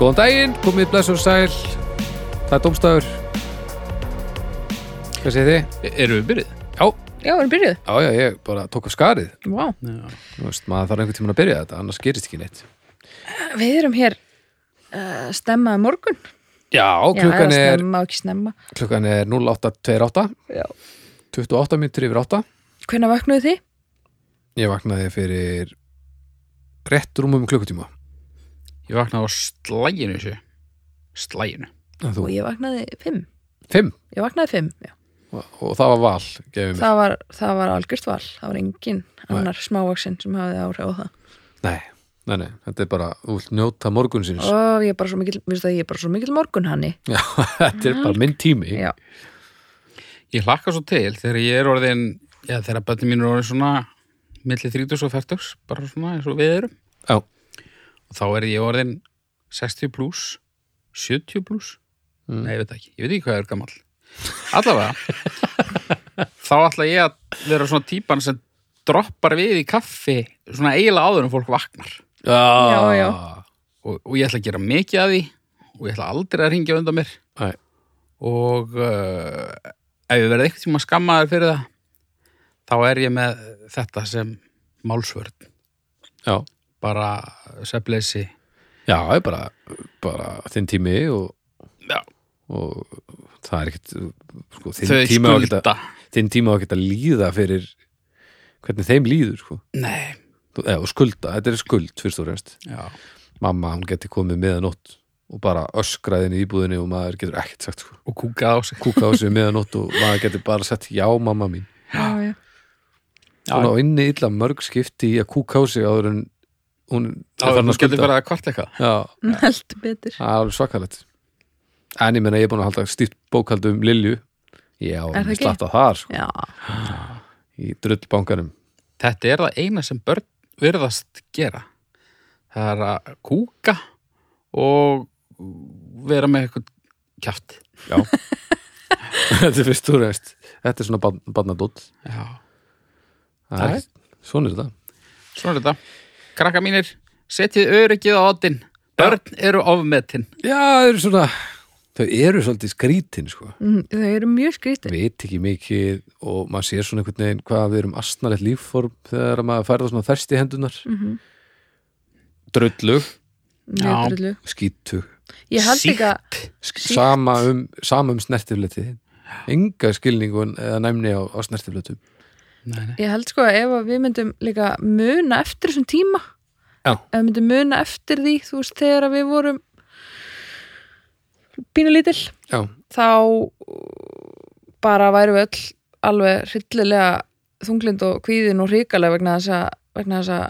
Góðan daginn, komið blessur og sæl Það er domstafur Hvað segir þið? E, Erum við byrjuð? Já, Já, erum byrjuð? já, já, ég bara tók af skarið Vá. Já. Þú veist, maður þarf einhvern tímann að byrja þetta annars gerist ekki neitt Við erum hér uh, stemmaði morgun. Já, klukkan, Já, eða er, stemma og ekki snemma. klukkan er 0828 Já. 28 mínútur yfir 8 Hvenær vaknaðu þið? Ég vaknaði fyrir rétt rúmum klukkutíma Ég vaknaði á slæginu þessu Slæginu En Og þú, ég vaknaði fimm. fimm Ég vaknaði fimm, já. og það var val gefið mér Það var, það var algjört val. Það var engin annar smávaksinn sem hafði áhrif á það. Nei, nei, nei, þetta er bara þú vilt njóta morgunsins Og ég er bara svo mikil, minnst að ég er bara svo mikil morgun hanni. Já, þetta er bara minn tími Já. Ég hlakka svo til þegar ég er orðin Já, þegar bönni mín er orðin svona milli 30 og 40 bara svona eins og við erum Já. og þá er ég orðin 60 pluss 70 pluss Mm. Nei, ég veit ekki, ég veit ekki hvað ég er gamall Allavega þá ætla ég að vera svona típan sem droppar við í kaffi svona eiginlega áður en fólk vaknar Já, Já, já. og, og ég ætla að gera mikið að því og ég ætla aldrei að ringja undan mér Nei. og uh, ef ég verði eitthvað tíma skammaður fyrir það þá er ég með þetta sem málsvörn Já, bara sefleysi já, það er bara, bara þinn tími og, Já. og það er ekkert sko, þinn þau tími á ekkert að skulda þinn tími á ekkert að líða fyrir hvernig þeim líður sko. Nei, Þú- eða og skulda, þetta er skuld fyrst og reynst já, mamma, hún geti komið meðanótt og bara öskraðin í íbúðinni og maður getur ekkert sagt sko. og kúkað á sig kúka á sig meðanótt og maður getur bara sagt já mamma mín Já, já. Já. hún á inni illa mörg skipti í að kúka á sig áður en hún er farin þá að getur skulda verið að kvart eitthvað já, Mm, Heldur betur. það er alveg svakalegt en ég menna ég er búin að halda stíft bókald um Lilju já, Er það ég ekki? slatta þar sko, Já. í drullbankanum Þetta er það eina sem börn verðast gera það er að kúka og vera með eitthvað kjátt já þetta er fyrst úr veist þetta er svona barn- barnadóll Já, Það Já. er ekkert- svona er þetta svona er þetta Krakka mínir, setjið öryggið á oddin Börn eru ofmetin já, þau eru svona þau eru svolítið skrítin sko Mm, Þau eru mjög skrítið. veit ekki mikið og maður sér svona einhvern veginn hvað við erum astnalett lífform þegar maður færða svona þersti hendunar mm Mhm. -hmm. drullu, Já. Mjög drullu. skítu Ég held ekki að Sítt. sama um, sama um snertifleti enga skilningun eða næmni á, á snertifletum Nei, nei. Ég held sko að ef að við myndum líka muna eftir þessum tíma Já. ef við myndum muna eftir því þú veist þegar að við vorum pínulítil já, þá uh, bara værum við öll alveg hryllilega þunglind og kvíðin og ríkalega vegna þess að, vegna þess að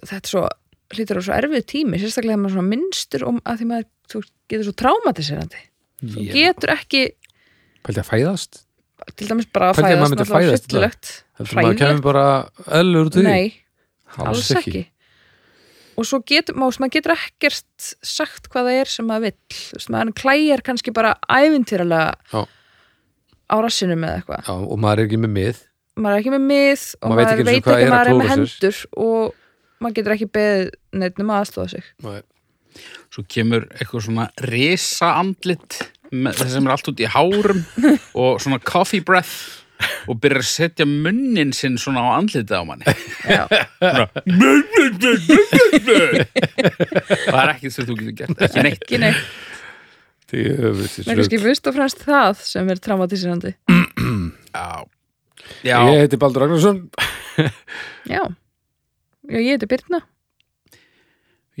þetta er svo hlýtur á svo erfið tími, sérstaklega þegar maður er svona minnstur um að því maður þú veist, getur svo traumatiserandi þú Ég- getur ekki pældi að fæðast til dæmis bara að Hvernig maður fæðast myndi náttúrulega fæðast í dag? heldur maður hryllilegt, hræðilegt. kemur bara öllur út úr því Nei, alls ekki. og svo getur má, maður getur ekkert sagt hvað það er sem maður vill Þú veist, maður klæjar kannski bara ævintýralega Já. á rassinum eða eitthvað Já, og maður er ekki með mið maður er ekki með mið og Maður maður, veit ekki einu sinni veit hvað er ekki að maður er með klóra sér. hendur og maður getur ekki beðið neittnum að aðstofa sig Svo kemur eitthvað svona risa andlit það sem er allt út í hárum og svona coffee breath og byrjar að setja munnin sinn svona á andlitið á manni Já. Það er ekkert sem þú getur gert ekki neitt ekki neitt, því höfuð maður kannski fyrst og fremst það sem er traumatísirandi Já, ég Já. heiti Baldur Ragnarsson já, já ég heiti Birna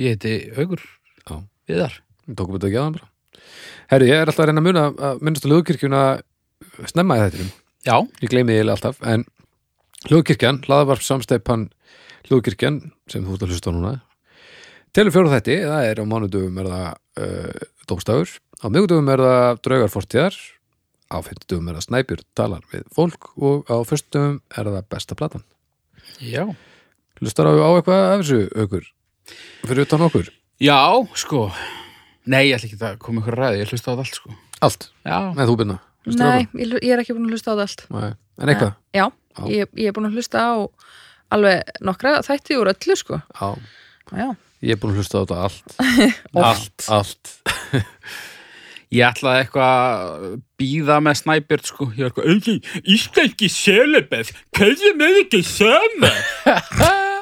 ég heiti Haugur Já. Viðar Við tókum þetta ekki aðan bara herru, ég er alltaf að reyna að muna að minnast að lögkirkjuna snemma í þættinum Já, ég gleymi því eiginlega alltaf en hljóðkirkjan, hlaðavarp samsteipan hljóðkirkjan sem þú ert að hlusta á núna telur fjóra þætti, það er á mánudöfum er það uh, dómstafur á miðgudöfum er það draugarfortíðar á fyrtudöfum er það snæpjur talar við fólk og á fyrstum er það besta platan já hlustar á, á eitthvað af þessu aukur fyrir utan okkur, Já, sko Nei, ég ætla ekki að koma ykkur að ræði, ég hlusta á það allt sko allt Já, en þú byrna, hlustar á nei, ég, ég er ekki búin að hlusta á það allt það en eitthvað, já, Já. Ég, ég er búin að hlusta á alveg nokkra þætti úr öllu sko á já, Ég er búin að hlusta á þetta allt Oft. Allt, allt Ég ætlaði eitthvað að býða með snæbjörn sko, ég var eitthvað "Auki, Íslenski sjölubeð, hverju með ekki sömu?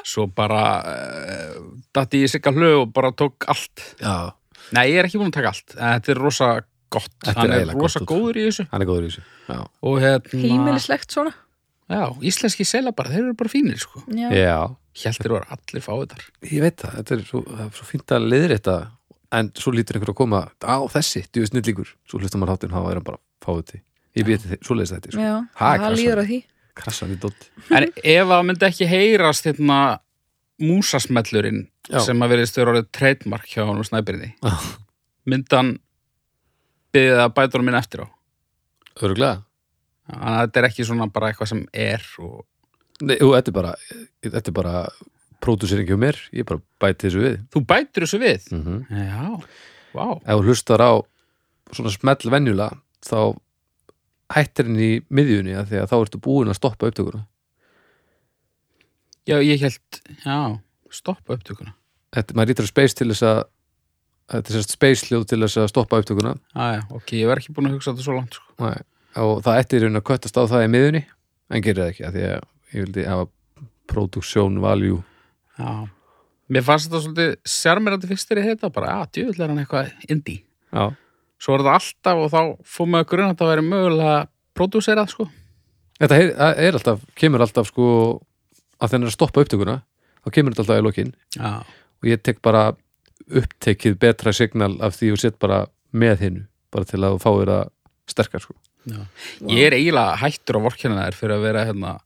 Svo bara uh, datti ég sigga hlög og bara tók allt. Já, Nei, ég er ekki búin að taka allt, en þetta er rosa gott. Þetta er Hann er eiginlega rosa gott út. góður í þessu. hann er góður í þessu Já, Og hérna, heimilislegt svona já, íslenski selabar, þeir eru bara fínir sko. já, Já. Hjæltir var allir fáið þar. ég veit það, þetta er svo, það er svo fínt að leiðir þetta en svo lítur einhver að koma á þessi, þú er snillíkur, svo hlustar maður hátinn hafa er hann bara fáuti, ég veit þið, svo leiðist þetta sko. já, Ha, það líður að því krassandi dótt En ef það myndi ekki heyrast hérna músasmellurinn Já. sem að verðist vera orðið treytmark hjá honum snæbyrni myndi hann byggðið að bæta honum minn eftir á Öruglega? þannig að þetta er ekki svona bara eitthvað sem er og Nei, jú, þetta er bara, þetta er bara pródúseringi hjá mér, ég bara bæti þessu við þú bætir þessu við mm Já, vá ef þú hlustar á svona smell venjulega þá hættir henni í miðjunni af því að þá ertu búin að stoppa upptökuna Já, ég held, já, stoppa upptökuna þetta, maður lítur að space til þess að þetta er sérst space hljóð til þess að stoppa upptökuna Já, já, ok, ég var ekki búin að hugsa þetta svo langt sko. Nei. og það ætti í raun að köttast á það í miðunni en gerir það ekki að því að ég vildi hafa production value Já Mér fannst þetta svolítið sérmerandi fyrstir í þetta bara, já, djúvill er hann eitthvað indie já, Svo var þetta alltaf og þá fór maður grunn að þetta væri mögulega prodúserað sko þetta er, það er alltaf kemur alltaf sko að þennan að stoppa upptökuna þá kemur þetta alltaf í lokin Já, og ég tek bara upptekið betra signal af því og sett bara með hinnu bara til að þú fáir að sterkar sko Ég er eiginlega hættur á vorkjana þær fyrir að vera hérna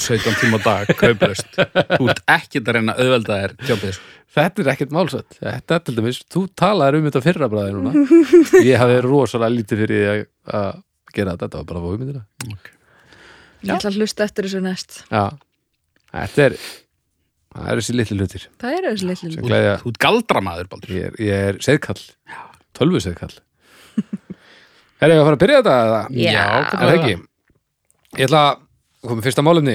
17 tíma á dag, kauplaust Þú ert ekkert að reyna að auðvelda þér jobbið sko. Þetta er ekkert málsvætt, þetta er til dæmis, þú talaðir um þetta fyrra bræði núna Ég hafði rosalega lítið fyrir því að- að gera þetta, þetta var bara fóðmyndina sko. ég ætla að hlusta eftir þessu næst Já, þetta er það eru þessi litli hlutir það eru þessi litlu sem Þú glæðja, ert- Þú ert galdramaður, Baldur ég er, ég er seðkall tölvu seðkall Er ég að fara að byrja þetta? eða? Já. Er það ekki? Ég ætla að koma með fyrsta málumni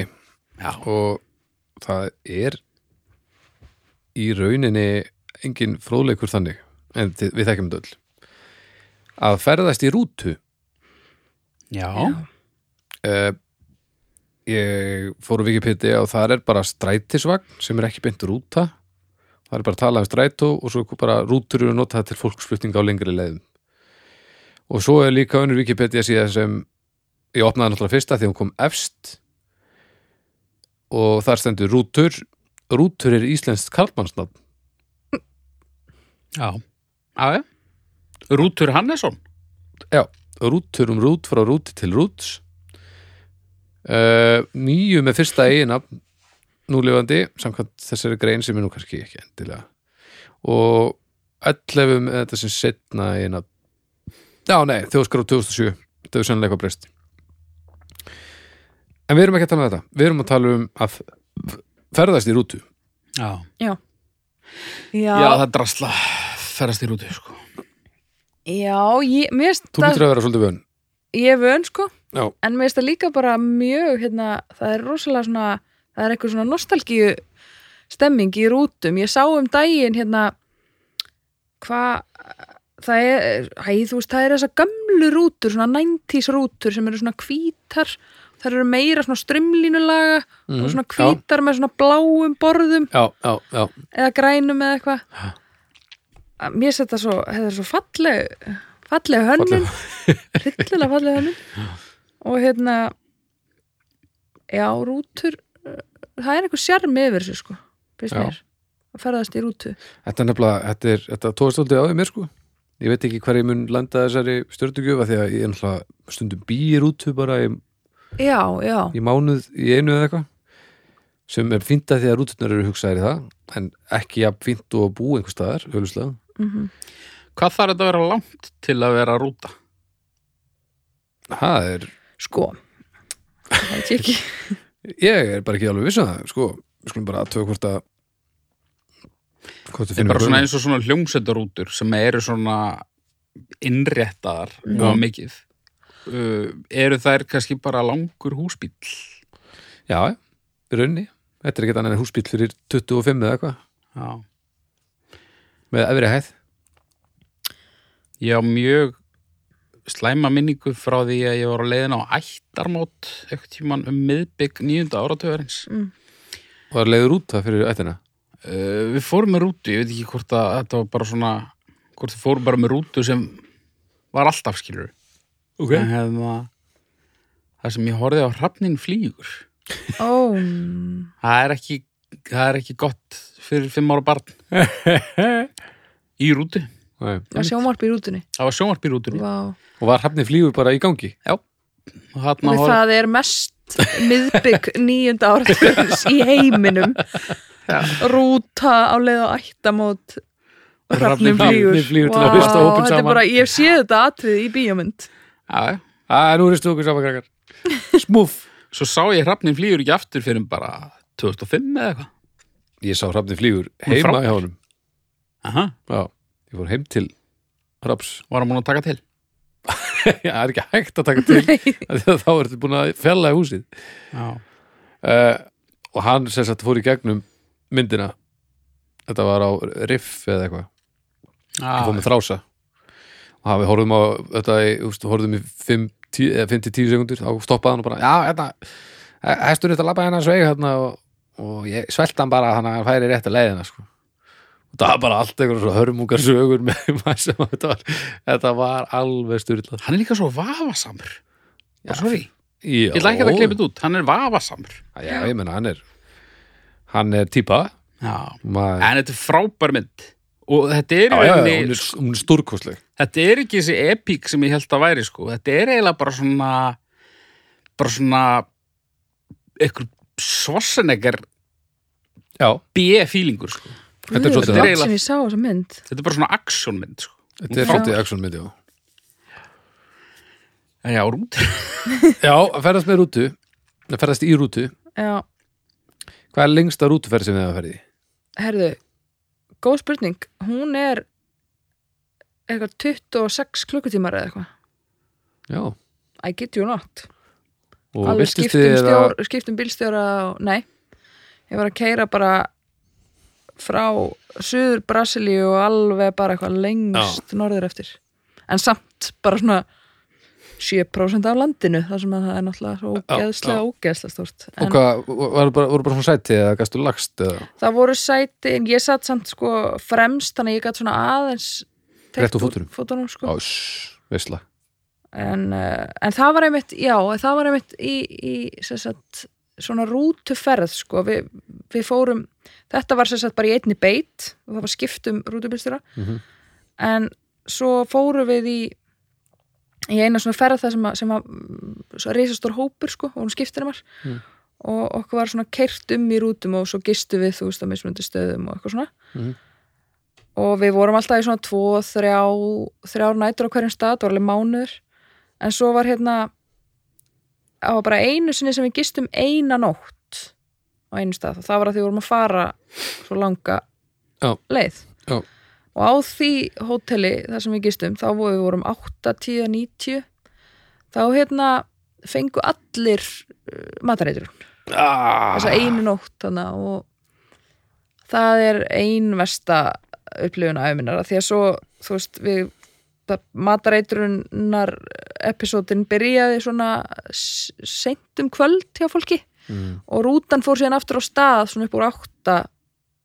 Já, og það er í rauninni engin fróðleikur þannig en þið- við þekkjum þetta öll að ferðast í rútu já, uh, ég fór á Wikipedia og þar er bara strætisvagn sem er ekki beint rúta það er bara að tala um strætó og svo bara rútur eru notað til fólksflutninga á lengri leiðum og svo er líka önnur Wikipedia síðan sem ég opnaði náttúrulega fyrsta því hún kom efst og þar stendur rútur rútur er íslenskt karlmannsnafn já Já, já Rútur Hannesson Já, rútur um rút frá rúti til rúts uh, Nýju með fyrsta eiginafn núlifandi samkvæmt þessari grein sem er nú kannski ekki endilega og 11 með þetta sem setna eiginafn Já, nei, þjóðskrá 2007 þetta er sannlega eitthvað breyst En við erum ekki að tala um þetta við erum að tala um að ferðast í rútu Já, já, já já, það drasla ferðast í rútu sko. ég, mér finnst Þú það- lítur að vera svolítið vön ég er vön sko Já, en mér finnst það líka bara mjög hérna, það er rosalega svona það er eitthvað svona nostalgíu stemming í rútum, ég sá um daginn hérna hvað það er, hæ, þú veist, það er þessar gamlu rútur, svona 90s rútur sem eru svona hvítar, það eru meira svona strömlínulaga og svona hvítar með svona bláum borðum já, já, já. eða grænum eða eitthvað Að mér setja svo, þetta er svo falleg falleg hönnun hryllilega falleg hönnun og hérna já, rútur eh, það er eitthvað sjarmi yfir þessu sko finnst Já. mér, að ferðast í rútu Þetta er nefnilega, þetta er, þetta tóðast aldrei á því mér sko. Ég veit ekki hvar ég mun landa þessari stjörnugjöfa því að ég er náttúrulega stundum býr út bara í, já, já, í mánuð í einu eða eitthvað sem er fínt að því að rútunar eru hugsaðir í það en ekki jafn fínt og að búa einhver staðar, auðvitað. Hvað þarf þetta að vera langt til að vera rúta? Það er, sko það veit ég ekki ég er bara ekki alveg viss um það, sko. Við skulum bara aðtöða hvort að hvort Þetta er bara svona eins og svona hljómsveitarútur sem eru svona innréttaðar og mikið uh, eru þær kannski bara langur húsbíll Já, í rauninni. Þetta er ekki annað en húsbíl fyrir 25 eða eitthvað. Já. með efri hæð Ég á mjög slæma minningu frá því að ég var á leiðin á ættarmót eitthvað tíman um miðbygg nýjunda áratöðarins. og það er leiður út það fyrir ættina Uh, við fórum með rútu, ég veit ekki hvort að þetta var bara svona, hvort við fórum bara með rútu sem var alltaf skilur. En hefðum að það sem ég horfði á hrafnin flýgur. Ó, Það er ekki, það er ekki gott fyrir fimm ára barn. Í rútu. Nei. var sjómarp í rútunni Það var sjónvarp í rútunni. Vá. og var hrafni flýgur bara í gangi Já. Og þarna Þannig horfði, það er mest miðbygg nýjunda áratöfnis í heiminum rúta á leið og ættamót og Hrafninn hrafnum flýgur, flýgur- flýgur til að hrista hópinn þetta er saman. bara, ég hef séð þetta atrið í bíómynd já, já. að nú ristu okkur saman krakkar smúf svo sá ég hrafnin flýgur ekki aftur fyrir bara 2005 eða eitthvað ég sá hrafni flýgur Hún er heima frábær. hjá honum Aha, já, ég fór heim til hraps var hann múin að taka til það er ekki hægt að taka til af því að þá ertu búin að fella húsið Já, uh, og hann sem sagt fór í gegnum myndina þetta var á Riff eða eitthvað ég fór já, með þrása og hann við horfðum á þetta í, úst, horfðum í 5-10 sekundur þá stoppaði hann og bara, já, hérna, þetta hestur þetta labba hennar sveig hérna og, og ég svelta hann bara þannig að hann færi rétt að leiðina sko. og það var bara allt einhverjum svo hörmungar sögur með maður sem þetta var þetta var alveg styrlað hann er líka svo vafasamur já, sorry, ég ég ætla ekki að það kleipið út hann er vafasamur já, ég menna, hann er hann er típa já. maður, en þetta er frábær mynd og þetta er, já, í já, já, rauninni- hún er, hún er stúrkostleg þetta er ekki þessi epík sem ég held að væri sko. þetta er eiginlega bara svona bara svona eitthvað svosseneggar já, B-fílingur sko. Þetta er svolítið það það. sem ég sá þessa mynd þetta er bara svona aksjónmynd sko. þetta er Já. svolítið actionmyndi já, en já, rútur já að ferðast með rútu að ferðast í rútu já, Hvað er lengsta rútuferð sem þið hafa ferði? herðu, góð spurning hún er eitthvað 26 klukkutímar eða eitthvað Já, I get you not og alveg um viltist skiptum, þið eða stjór, skiptum bílstjóra og, nei, ég var að keira bara frá suður Brasilíu og alveg bara eitthvað lengst norður eftir en samt bara svona 7% af landinu þar sem að það er náttúrulega svo ógeðslega, ógeðslega stórt og en hvað, voru bara, voru bara svona sæti eða gastu lagst eða það voru sæti en ég satt samt sko fremst þannig að ég gætt svona aðeins Rétt úr teygt úr fótunum. fótunum sko. ás, veistla en, eh, en það var einmitt já, það var einmitt í, í sem sagt, svona rútuferð sko. Vi, við fórum þetta var sem sagt, bara í einni beit og það var skiptum rútubilstjóra Mhm. en svo fórum við í í eina svona ferð það sem að, sem að mm, svo reisastór hópur sko, og hún skiptir um Mm. og okkur var svona keirt um í rútum og svo gistu við þú veist á mismunandi stöðum og eitthvað svona Mhm. og við vorum alltaf í svona tvo, þrjá þrjár nætur á hverjum stað, það var alveg mánuður en svo var hérna það var bara einu sinni sem við gistum eina nótt á einu stað og það var að því við vorum að fara svo langa Já. leið Já. og á því hóteli þar sem við gistum þá vorum við vorum 8, 10, 90 þá hérna fengu allir uh, matareitur ah, þessa einu nótt þannig og það er ein versta upplifun aðeiminara því að svo þú veist við matareitrunar episódin byrjaði svona seint um kvöld hjá fólki mm. og rútan fór síðan aftur á stað svona upp úr átta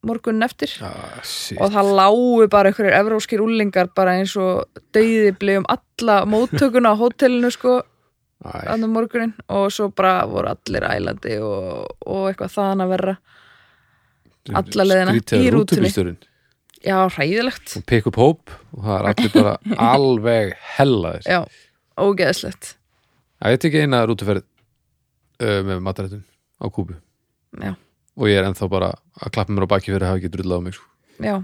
morgunin eftir ah, shit. og það lágu bara einhverjir evróskir úlingar bara eins og döiði blegjum alla móttökuna á hótelinu sko Æ, annar morgunin og svo bara voru allir ælandi og, og eitthvað þaðan að verra alla leiðina skrýtið í er rútunni. rútubílstjórinn. já, hræðilegt og pick up hóp og það er allir bara alveg hellaðir já, ógeðslegt að ég tek eina rútuferð uh, með matarættun á kúbu já, og ég er ennþá bara að klappa mér á baki fyrir að hafa ekki drullað á mig sko. já,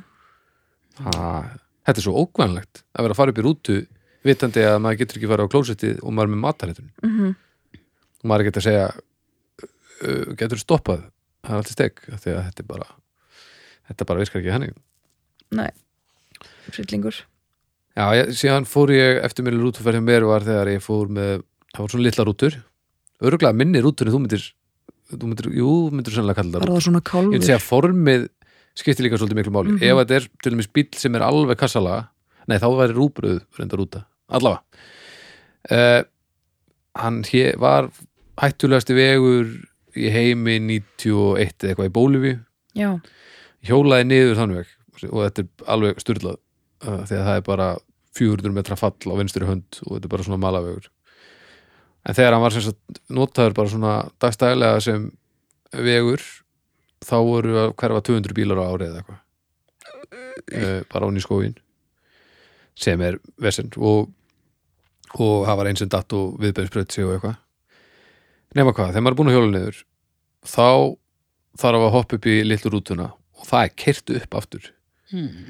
ah, þetta er svo ókvænlegt að vera að fara upp í rútu vitandi að maður getur ekki fara á klósettið og maður er með matarættun mm og maður er ekki að segja uh, getur stoppað það er allt í steg af því að þetta er bara þetta bara virkar ekki henni frillingur já, ég, síðan fór ég eftir mér rútuferð hjá mér var þegar ég fór með það var svona litla rútur öruglega minni rútur en þú myndir, þú myndir jú, myndir sannlega kalla það var það svona rútur ég myndi kálfur segja að formið skiptir líka svolítið miklu máli ef þetta er til dæmis bíll sem er alveg kassalaga nei þá væri rúbröð reyndar úta allavega uh, hann hér var hættulegasti vegur í heimi 91 eða eitthvað í Bólivíu já, hjólaði niður þann veg og þetta er alveg styrlað uh, þegar það er bara 400 metra fall á vinstri hönd og þetta er bara svona malavegur en þegar hann var sem sagt notaður bara svona dagstælega sem vegur þá voru að hverfa 200 bílar á árið eða eitthvað uh, bara án í skóin sem er vesend og, og það var eins sem datt og viðbæðisbröð sig og eitthvað nema hvað, þegar maður er búin að hjóla niður þá þarf að hoppa upp í litlu rútuna og það er kert upp aftur Hmm.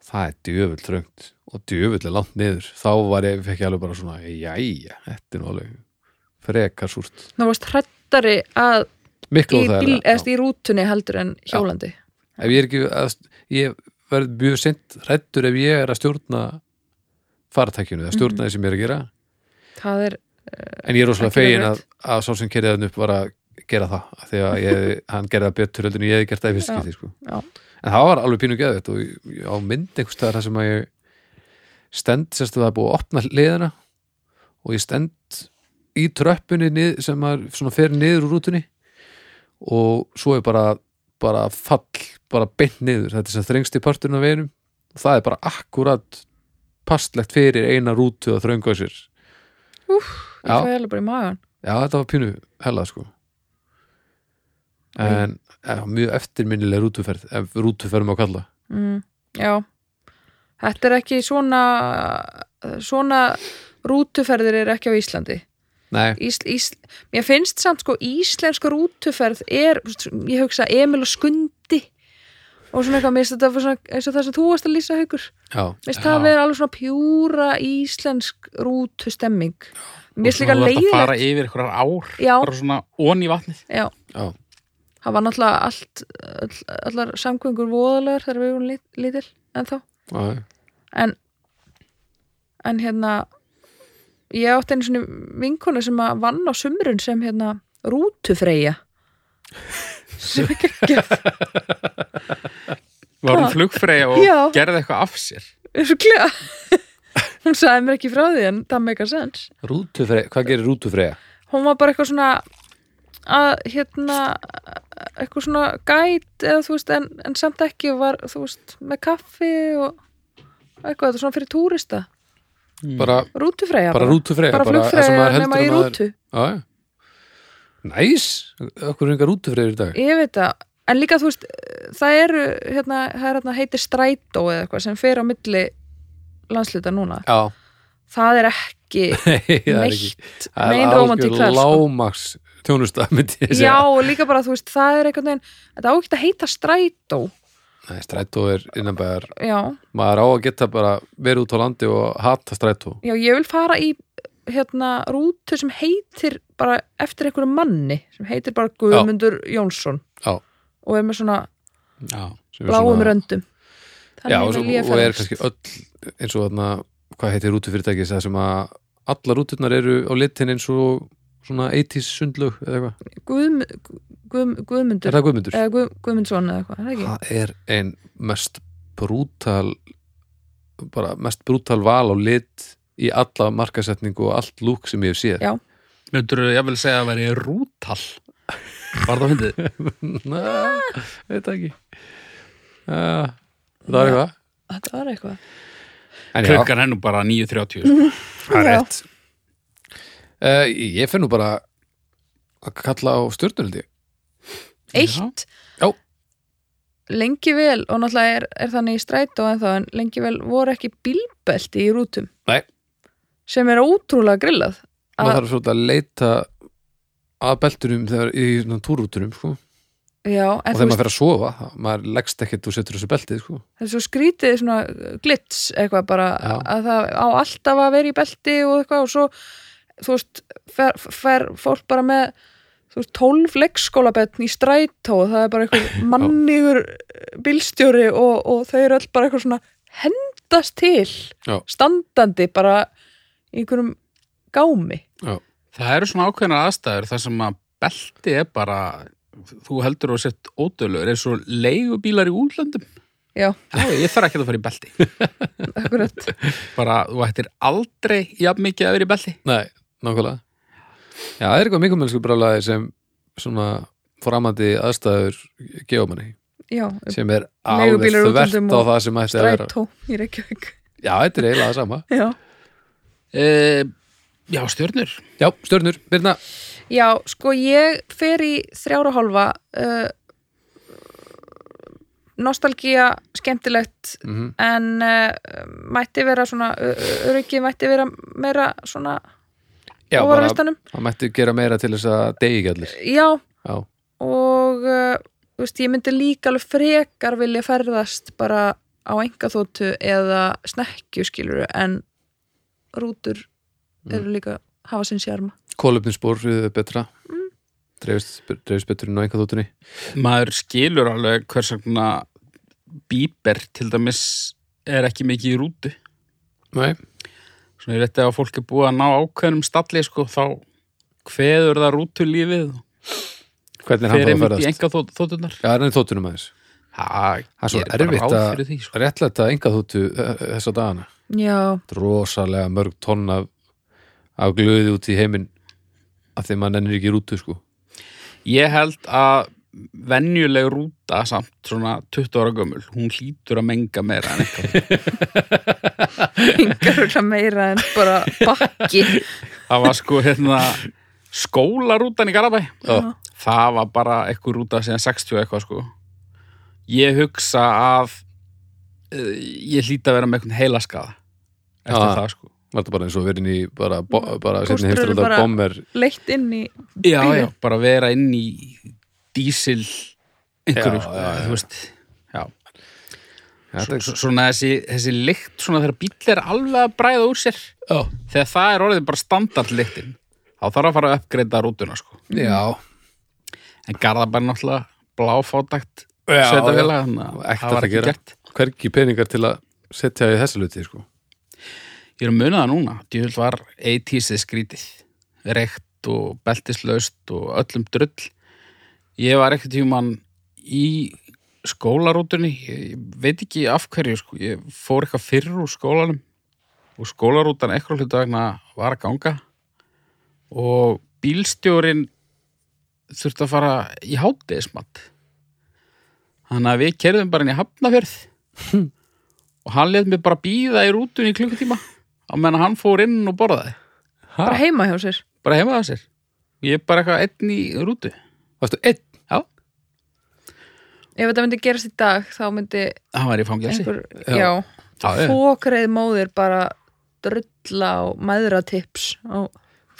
það er djöfull þröngt og djöfull er langt niður þá var ég, fekk ég alveg bara svona jæja, þetta er nú alveg frekar súrt þá varst hrættari að miklu í, og það bíl, er eðst, í rútunni heldur en hjólandi ef ég er ekki að, ég verð mjög sint rættur ef ég er að stjórna fartækjunu, það Mhm. stjórna því sem ég er að gera það er, en ég er rosalega Ekki fegin verið. að, að sá sem kerði hann upp var að gera það af því að ég, hann gerði það betur heldur en ég hefði gert það í fyrst Já, skipti sko. já. en það var alveg pínu geðvægt og ég, ég á mynd einhvers staðar þar sem að ég stend sérst að það er búið að opna liðina og ég stend í tröppunni nið, sem að svona fer niður úr rútunni og svo er bara bara fall, bara beint niður þetta er sem þrengst í parturinn af veginum og það er bara akkurat pastlegt fyrir eina rútu að þrönga sér ég Já. fæði alveg bara í magan Já, þetta var pínu hella sko en, en mjög eftirminnileg rútuferð ef rútuferð má kalla mm, já, þetta er ekki svona svona rútuferðir er ekki á Íslandi Nei, Ísl, Ísl, mér finnst samt sko íslenska rútuferð er, þú veist, ég hugsa Emil og Skundi og svona eitthvað, mér finnst þetta fyrir svona, eins og það sem þú varst að lýsa haukur, já, mér finnst Já. það að vera alveg svona pjúra íslensk rútustemming mér finnst líka Svona þú ert að fara leiðilegt yfir einhverjar ár já, bara svona ón í vatnið já, já, það var náttúrulega allt, all, allar samgöngur voðalegar þegar við vorum lit, lítil en þá, já, já. en en hérna ég átti einu svona vinkonu sem að vann á sumrun sem hérna rútufreyja sem ekki ekki var hún Hvað? flugfreyja og Já. gerði eitthvað af sér örglega hún sagði mér ekki frá því en það meikar sens Rútufreyja, hvað gerir rútufreyja? hún var bara eitthvað svona að hérna eitthvað svona gæt eða þú veist en, en samt ekki og var þú veist með kaffi og eitthvað þetta er svona fyrir túrista Hmm. Bara, rútufreyja bara rútufreyja bara flugfreyja nema í rútu Já, já Næs, okkur er enga rútufreyjur í dag ég veit það en líka þú veist það eru hérna, það er hérna heitir strætó eða eitthvað sem fer á milli landsluta núna Já, það er ekki Nei, það er ekki neitt Það er nein algjör romantík þar sko. Lágmaks þjónusta myndi ég já segja og líka bara þú veist það er eitthvað neginn þetta á ekki að heita strætó Nei, strætó er innanbæðar já Maður á að geta bara verið út á landi og hata strætó Já, ég vil fara í hérna rútu sem heitir bara eftir einhverju manni sem heitir bara Guðmundur Jónsson Já. og er með svona Já, sem er bláum svona- röndum Já, og, vil svo, ég og er ferðast. kannski öll eins og þarna, hvað heitir rútufyrirtækis það sem að allar rúturnar eru á litin eins og svona 80s sundlög eða eitthvað, Guðm, er Guðm, Guðmundur það Guðmundur? eða Guð, Guðmundsson eða eitthvað, er það ekki? Það er ein mest brútal bara mest brútal val á lit í alla markasetningu og allt lúk sem ég hef séð Já. myndur þú jafnvel segja að veri rútal var það hundið Næ, veit það ekki Æ, Það er eitthvað Þetta var eitthvað En já, klukkan hennum bara 9.30 sko. það er Já. rétt uh, Ég finn nú bara að kalla á stjórnuldi Eitt Já. Lengi vel, og náttúrulega er, er þannig í strætó en þá, en lengi vel voru ekki bílbelti í rútum Nei. sem er ótrúlega grillað maður Að- þarf svolítið að leita að beltunum þegar í svona túrútunum sko. Já, og en þegar maður fer að sofa þá- maður leggst ekkert og setur þessu beltið sko. það er svo skrítið svona uh, glits eitthvað bara Já. að það á alltaf að vera í belti og eitthvað og svo þú veist, fer, fer fólk bara með þú veist, tólf leggskólabetn í strætó og það er bara einhver mannigur eh, bílstjóri og, og þau eru öll bara eitthvað svona hendast til Já. standandi bara í einhverjum gámi það eru svona ákveðnar aðstæður þar sem að belti er bara þú heldur að sett ódöðlegur eins og leigubílar í útlöndum já, Já, ég þarf ekki að fara í belti akkurat bara þú ættir aldrei jafn mikið að vera í belti Nei, nákvæmlega Já, það er eitthvað mikið mennsku brálaði sem svona framandi aðstæður gefumanni, já, sem er alveg Leigubílar út þvert um á og það sem ætti að vera strætó í Reykjavík Já, þetta er eiginlega það sama já. e, Já, stjörnur Já, stjörnur, Birna, já, sko ég fer í þrjára hálfa uh, nostalgía skemmtilegt mm en uh, mætti vera svona öryggi mætti vera meira svona já, bara, óvaralistanum það mætti gera meira til þess að degi ekki allir já, Já, og uh, þú veist, ég myndi líka alveg frekar vilja ferðast bara á engaþóttu eða snekkju skilur en rútur Mm. eru líka hafa sinn sjarma kólöfninsbór er betra Mm. dreifist, dreifist betur en á einhvað þóttunni maður skilur alveg hvers vegna bíber til dæmis er ekki mikið í rútu Nei, svona ég rétti að fólk er búið að ná ákveðnum stalli sko þá hveður það rútulífið og hvernig er hann fer þá að einmitt í ferðast? enga þóttunar Já, hann er þóttunum aðeins það Það er svo gerir bara erfitt ráð að fyrir því, sko. réttlæta einhvað þóttu eh, þessa dagana já, rosalega mörg tonn af, af glöði út í heiminn af því maður nennir ekki í rútu sko ég held að venjuleg rúta samt svona 20 ára gömul hún hlýtur að menga meira en eitthvað engar örugglega meira en bara bakki það var sko hérna skólarútan í Garabæ Já. það var bara eitthvað rúta síðan 60 eitthvað sko ég hugsa að uh, ég hlýta að vera með eitthvað heilaskaða eftir Já. það sko var þetta bara eins og verið í bara, bo- bara setni Kústur eru heimstur bara- þetta bomber leitt inn í já, Bílinn. já, bara vera inn í dísil einhverju Já, sko, já, já. þú veist já, þetta er S- svona þessi, þessi lykt svona þegar bíll er alveg að bræða úr sér já, þegar það er orðið bara standardlyktin þá þarf að fara að uppgreita rútuna sko já, en Garðabær náttúrulega bláfátakt já, sveitafélag, þannig að Ekkert það að var ekki gera. gert hvergi peningar til að setja í þessu luti sko ég er að muna það núna, djúvel var 80s skrítið, reykt og beltislaust og öllum drull ég var ekkert tímann í skólarútunni ég ég veit ekki af hverju sko. ég fór eitthvað fyrr úr skólanum og skólarútan eitthvað hluta vegna var að ganga og bílstjórin þurfti að fara í hátegismat þannig að við kerðum bara inn í hafnafjörð og hann let mér bara býða í rútunni í klukkutíma á meðan hann fór inn og borðaði bara heima hjá sér bara heima það sér ég er bara eitthvað einn í rútu Vastu einn? já, ef þetta myndi gerast í dag þá myndi hann var í fangelsi einhver, Já. já, Já, já. fókreið móðir bara drulla á mæðratips á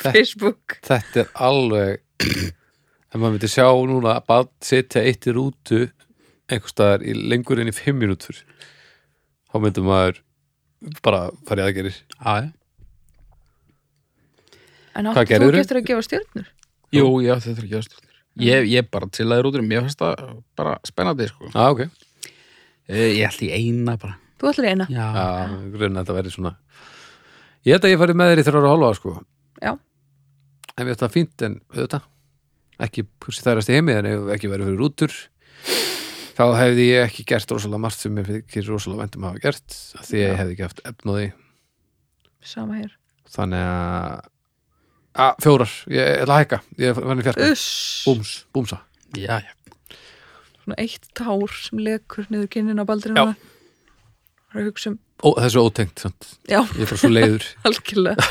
Facebook Þetta er alveg ef maður myndi sjá núna að setja eitt í rútu einhver staðar í lengur enn í fimm mínútur þá myndum maður bara farið aðgerir Já, já. en Hvað áttu þú gerðirðu? getur að gefa stjörnur jú, já, þetta er ekki aðstjórnir ég, ég bara til að í rútunni, mér finnst það bara spennandi sko. ah, ok, Eh, ég ætla í eina bara þú ætlar í eina já, já, grunna þetta verið svona ég held að ég farið með þér í þrjára og hálfa sko Já. en við þetta fínt en við þetta ekki kursi þærast í heimi en ef ekki verið fyrir rútur þá hefði ég ekki gert rosalega margt sem ég fyrir rosalega vendum að hafa gert af því að ég hefði ekki haft efnóði sama hér þannig að að fjórar, ég ég ætla að hækka ég vann í fjarka, Uss, búms, búmsa já, já. svona eitt tár sem lekur niður kinnin á baldrinu Já. Það er að hugsa um, Ó, þessu ótengt, sant? já, ég er bara svo leiður algjörlega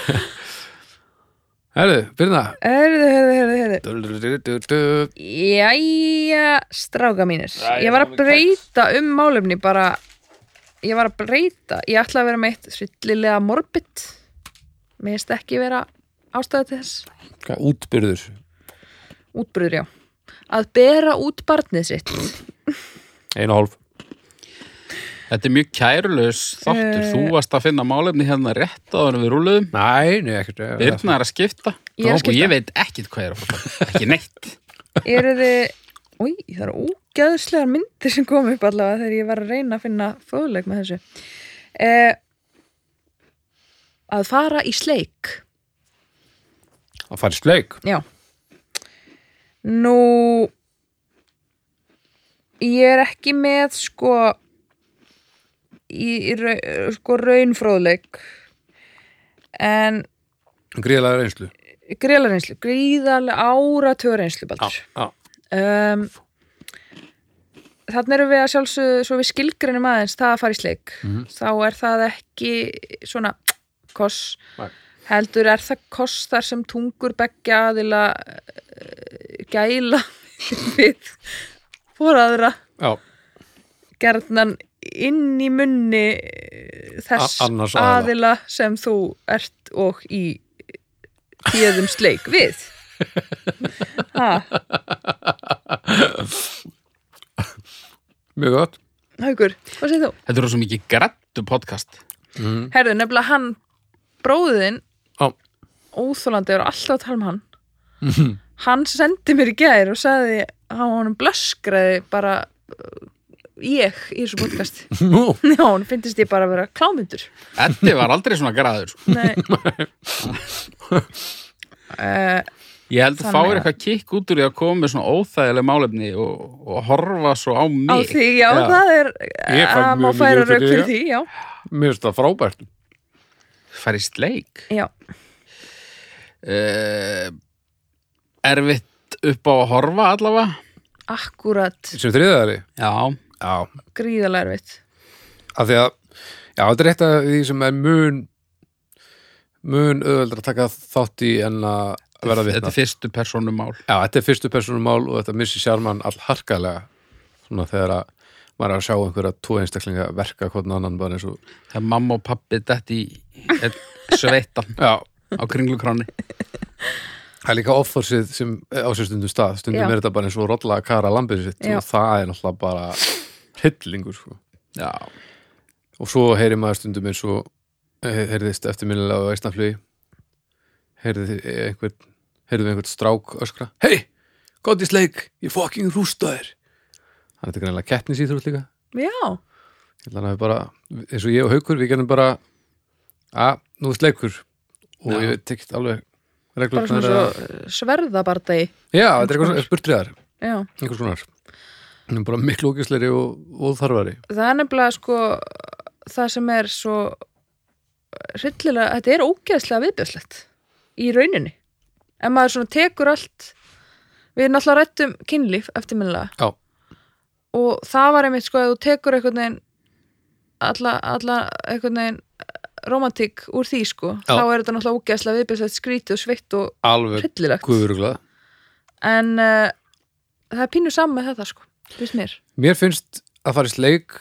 herðu, byrna Herðu, herðu, herðu, herðu Jæja, stráka mínir Ég var að breyta um málefni bara Ég var að breyta Ég ætla að vera með eitt svillilega morbid Mér finnst ekki vera ástæða til þess Hvað, útbyrður Útbröður, já Að bera út barnið sitt einu og hálf þetta er mjög kærulaus þáttur Eh. þú varst að finna málefni hérna rétt á þannig við rúluðum Nei, nei, ekkert eh, Birna er að skipta Ég er að skipta. og ég veit ekkit hvað er að fara ekki neitt eru þið Új, það eru ógæðslegar myndir sem kom upp allavega þegar ég var að reyna að finna fróðleik með þessu eh, Að fara í sleik að fara í sleik Já Nú ég er ekki með sko í, í ra- sko raunfróðleik en gríðlega reynslu gríðarlega reynslu, gríðarlega áratöð reynslu baldur já, um, þannig erum við að sjálfsögðu svo við skilgreinum aðeins það að fara í sleik Mhm. þá er það ekki svona koss Nei. heldur er það koss þar sem tungur beggja aðila uh, gæla við fóraðra já, gerðnan inn í munni eh, þess A- annars aðila. aðila. sem þú ert og í tíðum sleik við ha, mjög gott haukur, hvað segir þú? Þetta er svo mikið grættu podcast Mhm. Herðu, nefnilega hann bróðin Já. óþólandi er alltaf að tala um hann hann sendi mér í gær og sagði að honum blöskraði bara uh, ég í þessu podcast Nú, já, hann finnist ég bara að vera klámyndur Eddi var aldrei svona græður sko. nei uh, Ég held að Þannig fáir að- eitthvað kikk út úr því að koma með svona óþægileg málefni og, og horfa svo á á mig því, já, Já. það er eh, Ég fæ að mjög má mikið út færa úr rauk því, fyrir já. því, já, mér finnst það frábært færi sleik já. uh, Erfitt upp á að horfa allavega akkurat sem þriðaðari Já, já, gríðarlega erfitt af því að já, þetta er eitt af því sem er mun mun auðveldur að taka þátt í en að verða þetta vitna er fyrstu persónumál já, þetta er fyrstu personumál og þetta missir sjarmann allharkalega svona þegar að maður er að sjá einhverja tvo einstaklinga verka hvernig annan bara eins og þegar mamma og pappi dætt í einn sveittan já, á kringlukráni það er líka offorsið sem á sér stundum stað stundum Já. er þetta bara eins og rolla að kara lambið sitt Já. og það er náttúrulega bara hryllingur sko. Já, og svo heyri maður stundum eins og eh, heyrðist eftirminnilega á eisnaflugi heyrði einhvern heyrðu einhvern strák öskra hei, gott í sleik, ég fucking rústa þér þannig að þetta er greinlega keppnisíþrótt líka já, Ég held að við bara, eins og ég og Haukur, við gerum bara að, nú er sleikur og Já. ég veit ekki alveg bara reglur svona svo sverðabardagi Já, þetta er eitthvað spurtriðar, já einhvers konar Hún er bara miklu ógisleiri og, og þarfari það er nefnilega sko það sem er svo hryllilega, þetta er ógeðslega viðbjöðslegt í rauninni en maður svona tekur allt við erum alltaf rættum kynlíf eftirminnilega Já, og það var einmitt sko að þú tekur einhvern veginn alla, alla einhvern veginn romantík úr því sko, Já. þá er þetta náttúrulega ógeðslega viðbjöðslegt skrítið og sveitt og alveg hryllilegt guðuruglað en uh, það er pínu saman með þetta sko, finnst mér Mér finnst að fara í sleik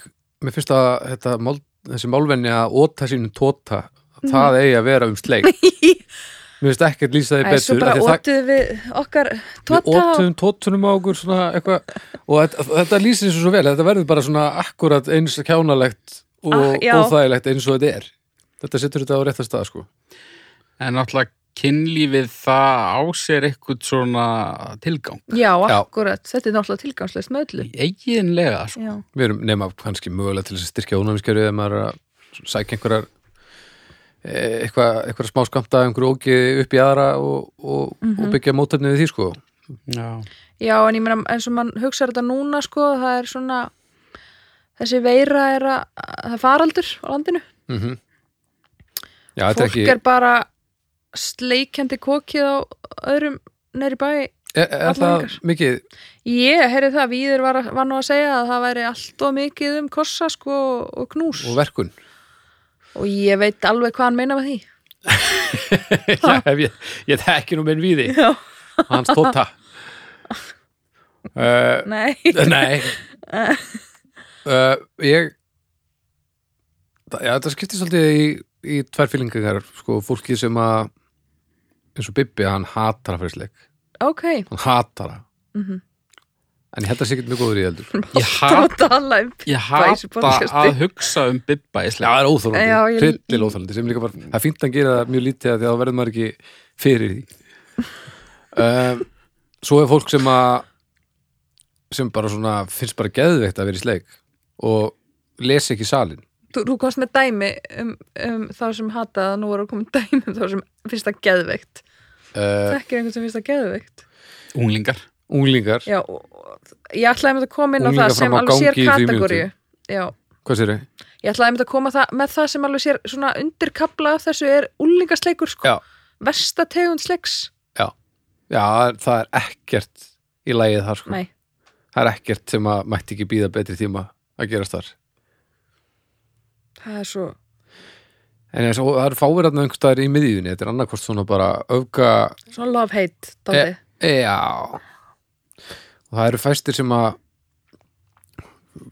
Mér finnst að þetta, mál, þessi málvenni að óta sínum tóta Mhm. það eigi að vera um sleik Mér finnst ekkert lýsa því Æ, svo betur bara af því að það- ótið við okkar tóta við og- óttum tóttunum á okkur svona eitthvað og þetta, þetta lýsir þessu svo vel þetta verður bara svona akkurat eins kjánalegt og Ah, já. óþægilegt eins og þetta er þetta setur þetta á rétta stað sko en náttúrulega kynlífið það á sér eitthvað svona tilgang Já, Já. akkurat, þetta er náttúrulega tilgangslegt með öllu eiginlega, sko. Já, við erum nema kannski mögulega til þess að styrkja ónæmiskerfið ef maður er að sækja einhverjar e, eitthvað, eitthvað smá skamta einhverju ógi upp í aðra og, og, Mhm. og byggja mótefni við því sko Já. já en ég meina eins og mann hugsa þetta núna sko, það er svona þessi veira er að það er faraldur á landinu mm já, þetta er fólk ekki er bara sleikjandi kokið á öðrum neyri bæ er, e, er það allangar. mikið ég heyrði það, Víður var, var nú að segja að það væri allt og mikið um kossa sko og knús og verkun og ég veit alveg hvað hann meina með því Já, ef ég, ég þekki nú minn víði Já. hans Tota. tóta uh, Nei, nei uh, ég það, já, þetta skiptir svolítið í, í tvær fílingar sko, fólki sem að eins og Bibbi, hann hatar að fyrir sleik ok hann hatar að mm -hmm. en ég held að sé ekki mjög góður í heldur Ég hata, um ég Bæs í hata podcasti. að hugsa um Bibba í Já, sleik. það er Já, óþólandi, ég- hryllil óþólandi sem líka bara, það er fínt að gera það mjög lítið af því að þá verður maður ekki fyrir því um, Svo er fólk sem að sem bara svona finnst bara geðveikt að vera í sleik og lesi ekki salin þú, þú komst með dæmi um, um þá sem hataði að nú voru að koma dæmi um þá sem finnst það geðveikt uh, þekkir einhvern sem finnst það geðveikt Unglingar. unglingar, Já, og- og- ég ætlaði einmitt að koma inn á Unglingar það sem fram á alveg sér gangi í þrír kategóriu mínútur. Já, hvað sér þau? ég ætlaði einmitt að koma það, með það sem alveg sér svona undirkabla af þessu er úlingasleikur sko, Já. versta tegund sleiks Já, það er ekkert í lagið þar sko. Nei, Það er ekkert sem að mætti ekki býða betri tíma að gerast þar. það er svo En eins og það er fáverðarna einhvers staðar í miðjunni, þetta er annarkvort svona bara öfga, svona love hate dálítið. Eh, já. Og það eru fæstir sem að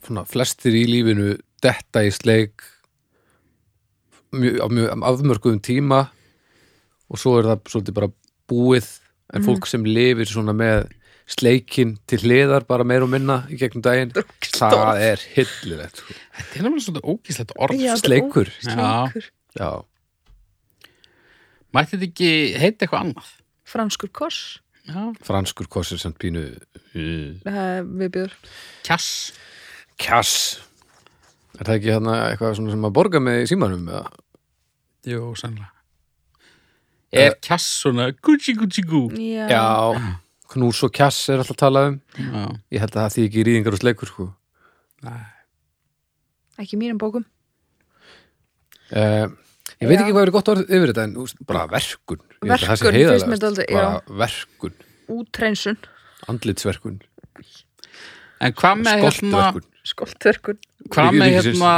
svona, flestir í lífinu detta í sleik mjög, á mjög afmörkuðum tíma og svo er það svolítið bara búið en fólk sem lifir svona með sleikin til hliðar bara meir og minna í gegnum daginn Þetta er ógeðslegt orð. það er hillilegt sko. Þetta er nefnilega svona ógíslegt orð. Já, þetta er Sleikur. ó- Sleikur, já, Mætti þetta ekki heita eitthvað annað? franskur kors Já. franskur kosir samt pínu uh, það er við bjóður Kjass. kjass er það ekki hérna eitthvað svona sem að borga með í símanum eða? Jú, sannlega. Er kjass svona gucci gucci gú? Já, já, knús og kjass er alltaf að tala um Já. ég held að það því ekki rýðingar og sleikur sko. ekki í mínum bókum uh, ég veit Já. ekki hvað er gott orð yfir þetta en úst, bara verkun Ég held að það sé Verkun finnst heiðarlegast. mér dálítið, já. bara verkun, útreinsun, andlitsverkun En hvað með hérna, skoltverkun skoltverkun hvað með Ríkisins. hérna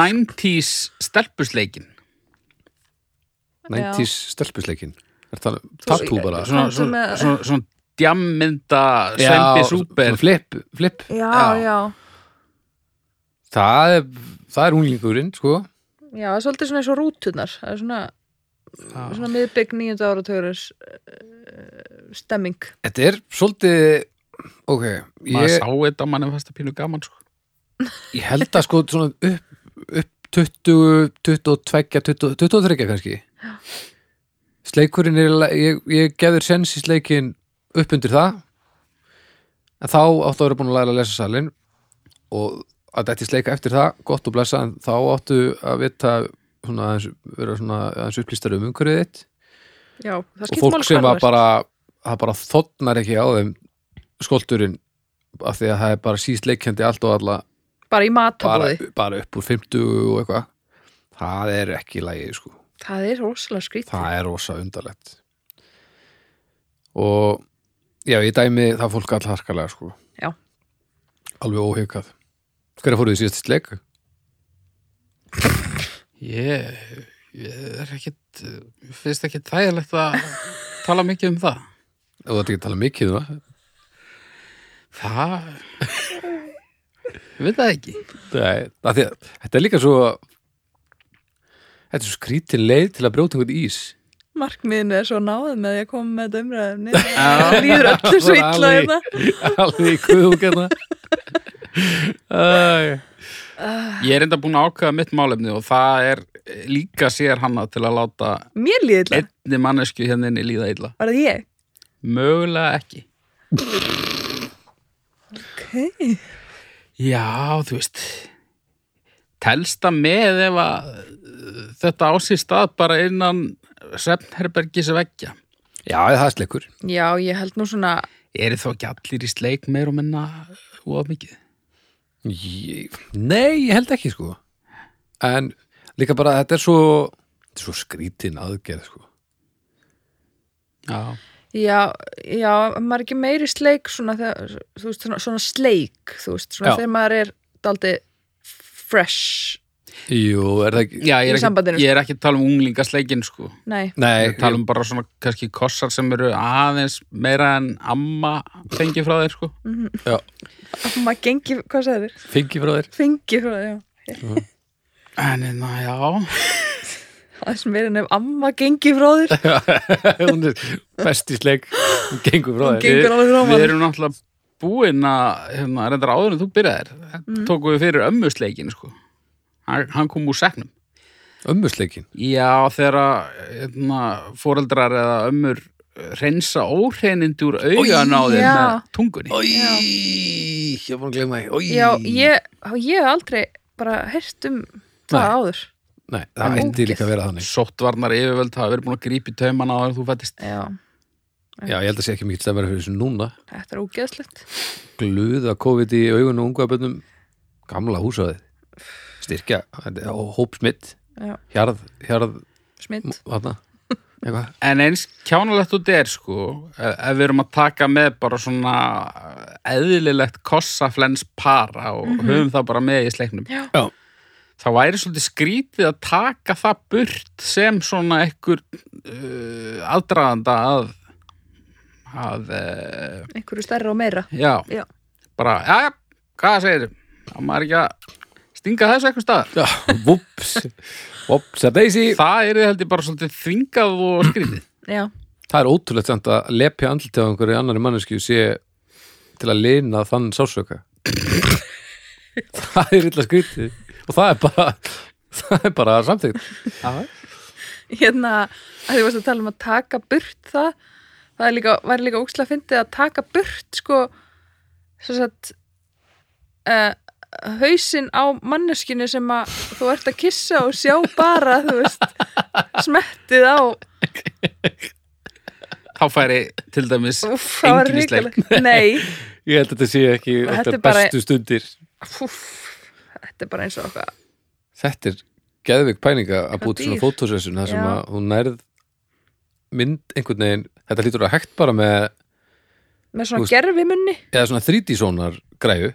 90s stelpusleikin? 90s stelpusleikin er það Svo- tattoo bara Svona, Komdu svona, með- svona, svona djammynda Já, Svembi svona Súper. flip, flip. já, Já. já, Það, er, það er unglingurinn sko. já, það er svolítið svona eins og rútunar það er svona, svona miðbygg nýjönda áratugurins uh, stemming Þetta er svolítið ok, Maður ég, sá þetta, mann er fast að pínu gaman sko. ég held að sko svona upp, upp 20, 22, 20, 23 kannski sleikurinn er ég, ég gefur sens í sleikin upp undir það en þá áttu að vera búin að læra að lesa salin og að þetta er sleika eftir það gott og blessa en þá áttu að vita svona, aðeins- vera svona aðeins upplýstar um umhverfið þitt já, það og skipt fólk máli sem hvar að þú ert. bara það bara þotnar ekki á þeim skolturinn af því að það er bara síst leikjandi allt og alla bara í bara, matabóði bara upp úr 50 og eitthvað það er ekki lægi sko það er rosalega skrít það er rosa undarlegt og já, ég dæmi það fólk allharkalega sko Já. alveg óhugað hverja fóruð þið síðast í leik? Ég, ég er ekkit, mér finnst ekki þægilegt að tala mikið um það. og þetta ekki að tala mikið um það Það, ég veit það ekki. Nei, af því að, þetta er líka svo þetta er svo skrítin leið til að brjóta einhvern ís markmiðin er svo náð með því að koma með þetta umræðumni Já. það líður öllu svo Bara illa alveg- hérna alveg í hérna. kuðungarna Ég er enda búin að ákveða mitt málefni og það er líka sér hanna til að láta mér líður illa, einni mannesku hérna inni líða illa. var það ég Mögulega ekki. okay. Já, þú veist, telsta með ef að uh, þetta ásýr stað bara innan svefnherbergis veggja. já, það er sleikur já, ég held nú svona Eru þá ekki allir í sleik meir og minna og mikið? ég, nei, ég held ekki sko en líka bara þetta er svo þetta er svo skrítin aðgerð sko Já. Já, já, maður er ekki meiri sleik svona, þegar, þú veist, svona, svona sleik þú veist, svona Já. þegar maður er daldi fresh jú, er það ekki Já, Í ég er, sambandinu, ekki, ég er ekki að tala um unglingasleikin sko. Nei, nei, Ég er að tala um bara svona kannski kossar sem eru aðeins meira en amma fengi frá þeir sko. að maður gengi, hvað sagði þér? fengi frá þér Fengi frá það, já En na, já, Það er sem meira nefn amma gengi frá þér hún er best í sleik hún gengur frá Hún þér gengur alveg frá við maður erum náttúrulega búin að, hérna, reyndar áður en þú byrjaðir, mm. tókum við fyrir ömmusleikin sko. Hann, hann kom úr seknum. ömmusleikin Já, þegar að, hérna, foreldrar eða ömmur eh, hreinsa óhreinindi úr augan á þeir já. með tungunni. Í, ég var búin að glemma því Já, ég, ég hef aldrei bara heyrt um það Nei. áður nei, það En ætti ógeð. líka að vera þannig Sóttvarnar yfirvöld hafa verið búin að grípa í tauman á þeir þú fættist. Já, Já, ég held að sé ekki mikið stemmara fyrir þessu núna Þetta er ógeðslegt gluða COVID í augun og unguðaböndum gamla húsæði styrkja, hópsmitt Já. hjarð, hjarð Smitt Mm. hana, eitthvað En eins kjánalegt út er sko ef ef við erum að taka með bara svona eðlilegt kossaflens para og höfum það bara með í sleiknum Mhm. Já. Já. þá væri svolítið skrítið að taka það burt sem svona ekkur uh, aðdraðanda að að uh, Einhverju stærra og meira já, Já. bara, já, já, hvað segir þá maður ekki að stinga þessu eitthvað staðar Já, Whoops Whoops a daisy það er held ég bara svolítið þvingað og skrítið Já, Það er ótrúlegt samt að lepja andlitið á einhverju annari mannesku sé til að lina þann sásöka Það er illa skrítið og það er bara það er bara samtíkt hérna að þú varst að tala um að taka burt það það er líka, væri líka ókslega fyndið að taka burt sko svo sagt uh, hausinn á manneskinu sem að þú ert að kissa og sjá bara þú veist, smettið á þá færi til dæmis Úff, það var Engin í sleik. ríkileg Nei, Ég held að þetta sé ekki Þetta þetta er bara- bestu stundir Úff, þetta er bara eins og okkar Þetta er geðvik pæninga að Hvað búið svona dýr. fótosessun þar sem Já. að hún nærð mynd einhvern veginn þetta lítur að hægt bara með með Þú svona veist- gerfimunni eða svona 3D-sónar græju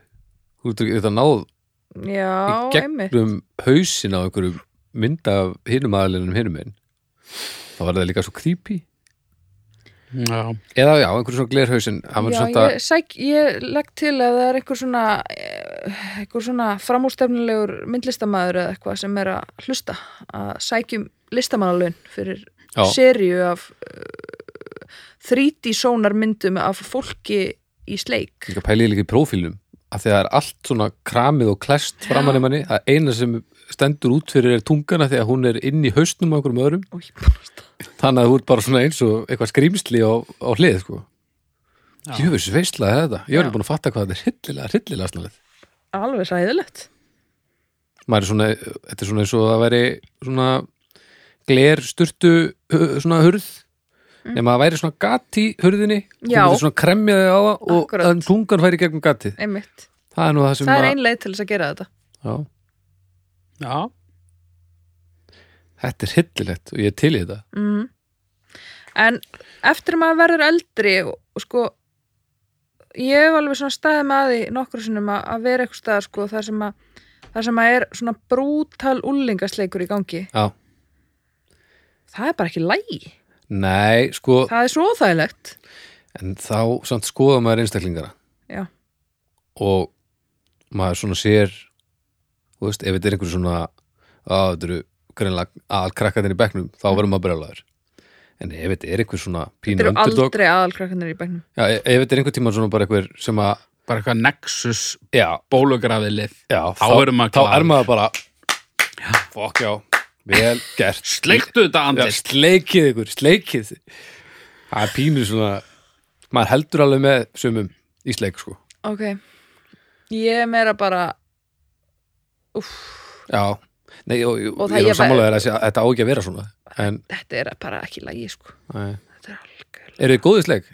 þú ert þetta náð í Já, einmitt gegnum hausin á einhverju mynd af hinum aðalinum hinum einn þá var það líka svo creepy já eða já, einhverju svona glerhausin hann var Já, svona ég, sæk, ég legg til að það er einhver svona eh, einhver svona framústefnilegur myndlistamaður eða eitthvað sem er að hlusta að sækjum listamannalaun fyrir Já. seríu af uh, 3D sónar myndum af fólki í sleik líka pælið líka í prófílnum af því að það er allt svona kramið og klest framan í manni, það eina sem stendur út fyrir er tungana því að hún er inn í hausnum á einhverjum öðrum, og ég bara stað þannig að þú ert bara svona eins og eitthvað skrýmsli á, á hlið sko. Já. ég hefur sveislaði þetta ég Já. hefur búin að fatta hvað þetta er hryllilega, hryllilega snarlega alveg sæðilegt maður er svona, þetta er svona eins og það væri svona gler sturtu uh, svona hurð nema það væri svona gat í hurðinni þú Mm. Já. myndir svona kremja þig á það og Akkúrat. þann tungan færi gegnum gatið einmitt, það er nú það sem það er að, ein leið til þess að gera þetta já, Já, þetta er hillilegt og ég er til í þetta mm. en eftir að maður verður eldri og, og sko ég hef alveg svona staðið með að því nokkru sinnum að, að vera eitthvað stað sko þar sem að þar sem að er svona brútal úlingasleikur í gangi já. það er bara ekki lægi, nei, sko, það er svo óþægilegt en þá samt skoða maður einstaklingara Já. og maður svona sér þú veist, ef þetta er einhver svona að þetta eru greinlega aðalkrakkaðin í bekknum, þá verður maður brjálæður en ef þetta er einhver svona þetta pínu eru underdog aldrei aðalkrakkanir í bænum Já, e- ef þetta er einhvern tímann svona bara einhver sem að bara eitthvað Nexus já, bólugrafið lið já, Þá verður maður þá glaður. er maður bara fokk já, vel gert Sleiktu þetta já, andist sleikið ykkur, sleikið það er pínu svona maður heldur alveg með sumum í sleik sko ok, ég er meira bara já, nei, og, og Og það ég ég er sammálaður að segja- þetta á ekki að vera svona en, þetta er bara ekki lægi sko nei. þetta er algjörlega eru þið góðið sleik?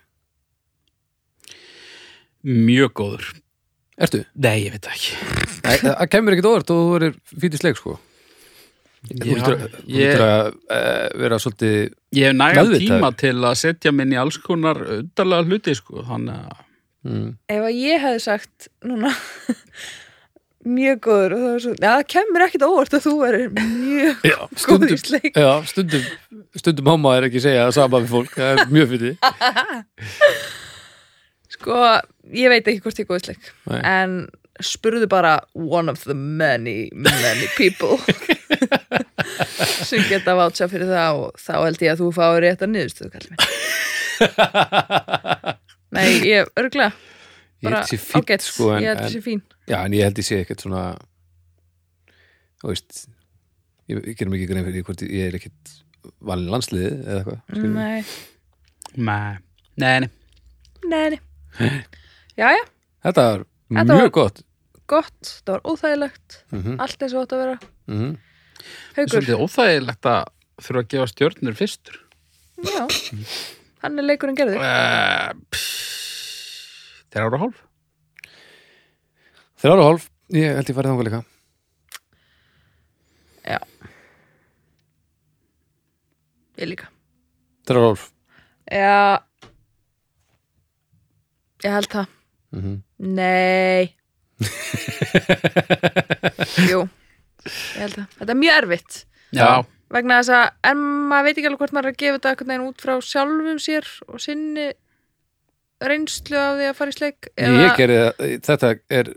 Mjög góður Ertu? Nei, ég veit það ekki Nei, það það kemur ekkert óvart og þú verður fítið sleik sko þú Já, lítur að- þú ég- lítur að eh, vera svolítið Ég hef nægan Meðvitaður. tíma til að setja minn í alls konar undarlega hluti sko Þannig að mm, ef að ég hefði sagt núna mjög góður og það var svo, já það kemur ekkit á óvart að þú verður mjög já, góður stundum í sleik Já, stundum, stundum háma er ekki að segja það sama við fólk, það er mjög fyrir sko, ég veit ekki hvort ég er góð í sleik Nei. en spurðu bara one of the many, many people sem geta vátsa fyrir það og þá held ég að þú fáir rétt að niðurstöðu kallið minn nei, ég, örgulega Ég bara held sér fínt ágætt, sko en, ég held en, þessi fín Já, en ég held ég sé ekkert svona Þú veist Ég, ég gerum ekki grein fyrir því hvort ég- ég er ekkert valin landsliði eða eitthvað skilur við. nei, Nei, nei, nei. nei, nei. jæja, Þetta er Þetta mjög var- gott gott, það var óþægilegt mm allt eins og þetta að vera -hmm. Svolítið Haukur, óþægilegt að þurfa að gefa stjörnur fyrstur já, Hann er leikurinn gerður Uh, Þeir ára hálf Þrjára og hálf, ég held ég farið þangað líka Ég líka Þrjára og hálf Já Ég held það mm -hmm. Nei Jú Ég held það Þetta er mjög erfitt Já, vegna þess að en maður veit ekki alveg hvort maður er að gefa þetta einhvern veginn út frá sjálfum sér og sinni reynslu af því að fara í sleik Ég gerði það, þetta er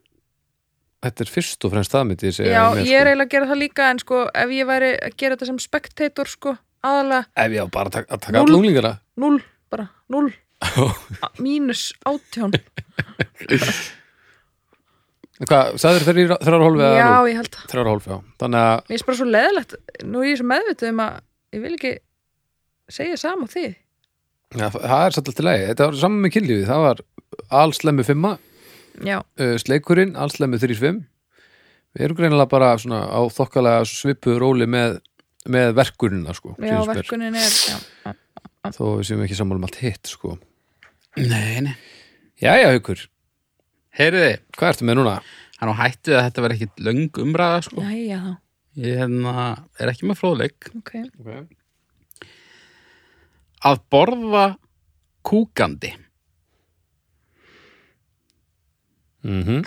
Þetta er fyrst og fremst það myndi ég segja Já, með, sko. ég er eiginlega að gera það líka en sko ef ég væri að gera þetta sem spektator sko aðalega sko. Ef ég á bara að taka, að taka Núll. all unglingana null, bara null A- mínus átján Hvað, sagður þrjára og hálf eða Já, núll? ég held það Þrjára og hálf, já Þannig að Mér er bara svo leðilegt, nú er ég svo meðvitið um að ég vil ekki segja sama og þið Já, það er satt alltaf leið, þetta var saman með kynlífið það var allslemmu fimma Já, uh, sleikurinn, allslemmu þrýr-fimm við erum greinilega bara svona á þokkalega svipu róli með, með verkunina sko já finnst mér. verkunin er já. þó við séum ekki sammála um allt hitt sko nei, nei Jæja, haukur, Heyriði, hvað ertu með núna? hann á hættið að þetta verði ekki löng umræða sko. Jæja þá, Ég hérna, er ekki með fróðleik ok Okay. Að borða kúkandi Mm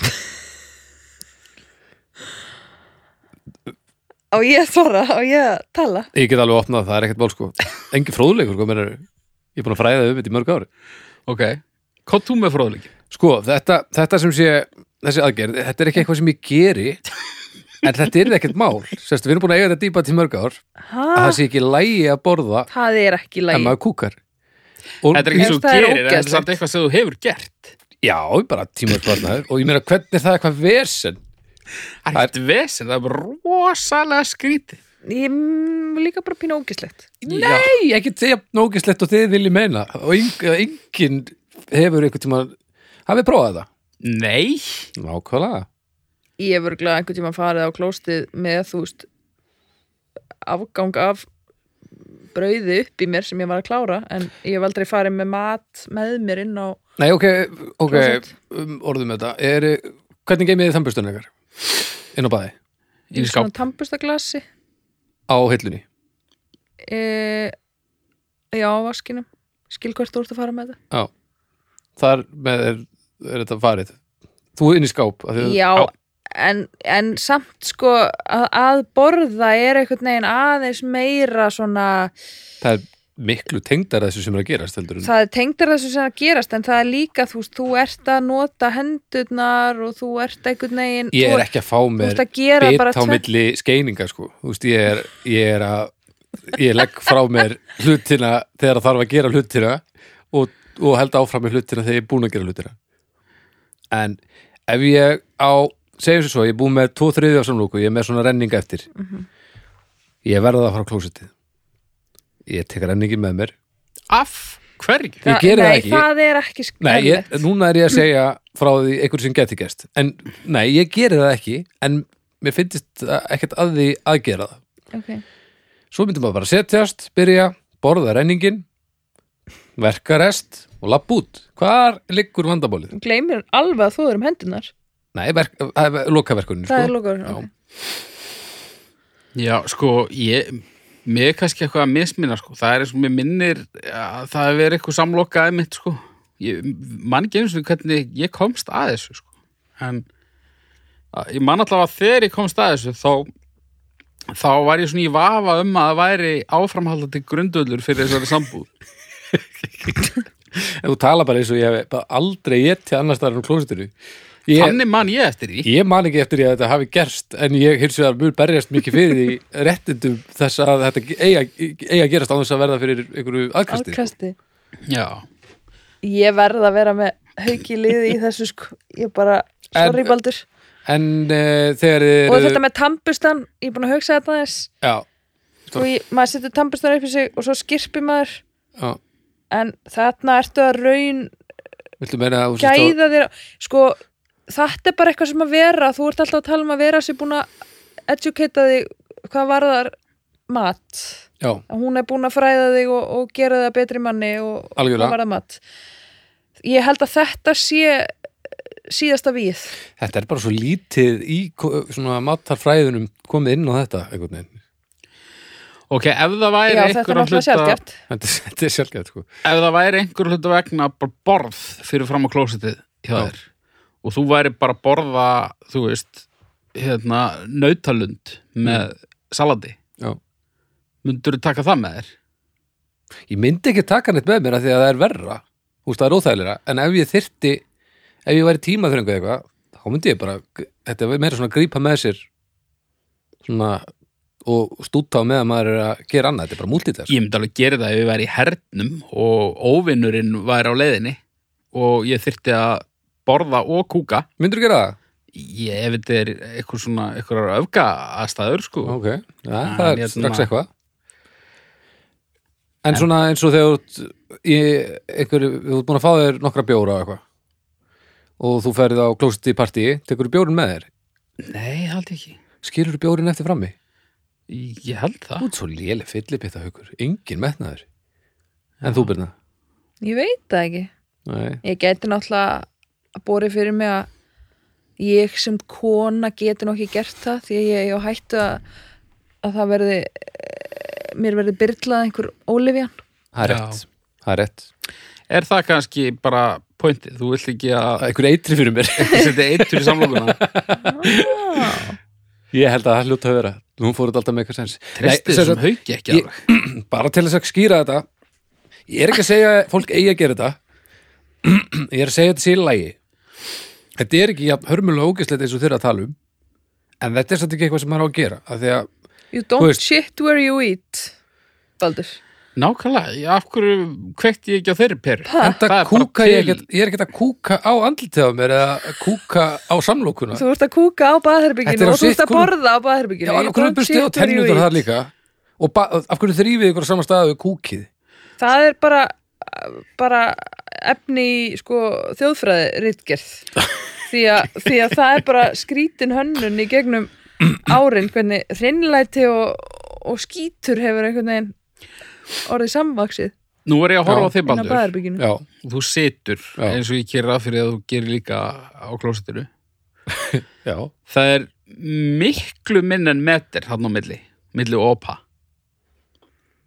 Á ég að svara, á ég að tala Ég get alveg opnað, það er ekkert ból sko Engi fróðleikur, sko, mér er ég er búin að fræða um þetta í mörg ári Ok, hvað þú með fróðleik? Sko, þetta, þetta sem sé þessi aðgerð, þetta er ekki eitthvað sem ég geri en þetta er ekkert mál Sérst, við erum búin að eiga þetta dýpa til mörg ár að ha? það sé ekki lægi að borða Það er ef ekki Ah. lægi maður kúkar og, Þetta er ekki Mér svo finnst það er þú gerir, en þetta er ógeðslegt. samt eitthvað sem þú hefur gert já, bara tímaðsbarnaður og ég meina hvernig er það eitthvað vesen Það er eitt vesen, það er bara rosalega skrítið Ég er líka bara pínu ógislegt nei, ekki segja nógislegt og þið viljið meina og engin, engin hefur einhvern tíma hafið prófað það Nei, nákvæmlega Ég hef örgulega einhvern tíma farið á klóstið með þú veist afgang af brauði upp í mér sem ég var að klára en ég hef aldrei farið með mat með mér inn á nei, ok, ok, Klósett. um, orðum þetta er, hvernig geymið þið þambustunum ykkar inn á baði, í skáp svona tampustaglasi á hillunni e, Já, á vaskinum skil hvert þú ert að fara með þetta já, þar með er, er þetta farið þú inn í skáp af því að- Já, á, en, en samt sko að, að borða er einhvern veginn aðeins meira svona það er miklu tengdar að þessu sem er að gerast heldur en það er tengdar þessu sem að gerast en það er líka, þú veist, þú ert að nota hendurnar og þú ert einhvern veginn ég þú, er ekki að fá þú mér ert að gera bit bara á tvennt. milli skeininga sko þú veist ég er, ég er að ég legg frá mér hlutina þegar þarf að gera hlutina og, og held áfram með hlutina þegar ég er búin að gera hlutina en ef ég á segjum sér svo, ég er búin með tvo þriðja samlóku, ég er með svona renninga eftir Mhm. ég verða að fara á klósitið ég tek renningin með mér Af hverju? ég geri það nei, ekki. það er ekki Nei, ég, skrænlegt núna er ég að segja frá því einhverju sem geti gæst en nei, ég geri það ekki en mér finnst það ekkert að því að gera það okay. svo myndum maður bara setjast, byrja borða renningin verka rest og lapp út hvar liggur vandabólið? gleymir alveg að þú er um hendunar Nei, verk, eh, lokaverkunin það er sko. lókur Já. okay. Já, sko, ég mér er kannski eitthvað að misminna, sko það er eins og mér minnir að það hefur verið eitthvað samlokaði mitt, sko ég man ekki eins og hvernig ég komst að þessu, sko en að- ég man allavega að þegar ég komst að þessu þá þá var ég svona í vafa um að það væri áframhaldandi grundullur fyrir þessari sambúð En þú tala bara eins og ég hef bara aldrei ég til annars þar en klósitinu ég, Þannig man ég eftir því ég man ekki eftir því að þetta hafi gerst en ég hins vegar mjög berjast mikið fyrir því réttindum þess að þetta eiga, eiga að gerast á þess að verða fyrir einhverju aðkasti Afkasti. Já, ég verð að vera með hauki liði í þessu sko ég bara, En- sorry Baldur En uh, þegar þið og þetta með tampustan, ég er búin að hugsa þetta aðeins Já, og ég, maður setur tampustan upp í sig og svo skirpir maður já en þarna ertu að raun Viltu meina að þú sést gæða þér á- sko, þetta er bara eitthvað sem að vera þú ert alltaf að tala um að vera sér búin að educata þig hvað varðar mat já, að hún er búin að fræða þig og, og gera það betri manni og Algjörlega. og verða mat ég held að þetta sé síðasta víð þetta er bara svo lítið í ko- svona matarfræðunum komið inn á þetta einhvern veginn ok, ef það væri Já, þetta er einhverra náttúrulega hluta sjálfgeft Þetta er- þetta er sjálfgæð sko. ef það væri einhver hluta vegna bara borð fyrir fram á klósitið hjá Já. þér og þú væri bara að borða þú veist, hérna nautalund með salati Já. myndur þú taka það með þér? Ég myndi ekki taka neitt með mér af því að það er verra Úst, það er óþægilega, en ef ég þyrfti ef ég væri tíma fyrir einhver eitthvað þá myndi ég bara, þetta er meira svona að grípa með sér svona og stúta á meðan maður er að gera annað, þetta er bara múltitask Ég myndi alveg gera það ef ég væri í hernum og óvinnurinn væri á leiðinni og ég þyrfti að borða og kúka Myndirðu gera það? ég ef þetta er eitthvað svona eitthvað öfga aðstæður sko Ok, ja, það hann er hérna- strax eitthvað En svona eins og þegar þú ert í einhverju, þú ert búin að fá þér nokkra bjóra og eitthvað og þú ferð á klósit í partíi, tekur bjórin með þér Nei, ég held ekki skilur bjórin eftir frammi Ég held það Þú ert svo léleg fyllipitta haukur, engin metnaður En þú byrna ég veit það ekki Nei, ég geti náttúrulega að bori fyrir mig að ég sem kona geti nokki gert það því að ég ég á hættu að, að það verði eh, mér verði byrlað einhver ólifjan það er Já. rétt Það er rétt Er það kannski bara pointið? Þú vilt ekki að Einhver eitri fyrir mér setja eittur í samlokuna Ég held að það hljóta að vera Nú fór þetta alltaf með eitthvað sens Tristið sem sem sagt, hauki ekki ég- alveg Bara til þess að skýra þetta Ég er ekki að segja að fólk eigi að gera þetta Ég er að segja þetta sér í lagi Þetta er ekki jafn hörmulega ógislegt eins og þeirra að tala um En þetta er satt ekki eitthvað sem maður á að gera að Því að you Þú don't veist- shit where you eat Baldur Nákvæmlega, ég- af hverju kveikti ég ekki á þeirri peru? enda Það er bara kúka ég til. ekkert Ég er ekkert að kúka á andlitið á mér eða að kúka á samlokuna þú ert að kúka á Þetta baðherbygginu er á og þú ert sitt að hvoru- borða á Já, baðherbygginu en af hverju burstið á tennundar þar líka og ba- af hverju þrýfið ykkur á sama stað við kúkið það er bara, bara efni í, sko, þjóðfræði ritgerð því, að, því að það er bara skrítin hönnun í gegnum árin hvernig hreinlæti og, og skítur hefur einhvern veginn orðið samvaksið Nú er ég að horfa Já. á þig, inn á Baldur baðherbygginu Já, Þú situr, Já. eins og ég gerir að fyrir að þú gerir líka á klósitinu já, Það er miklu minn en metir hann á milli, milli og opa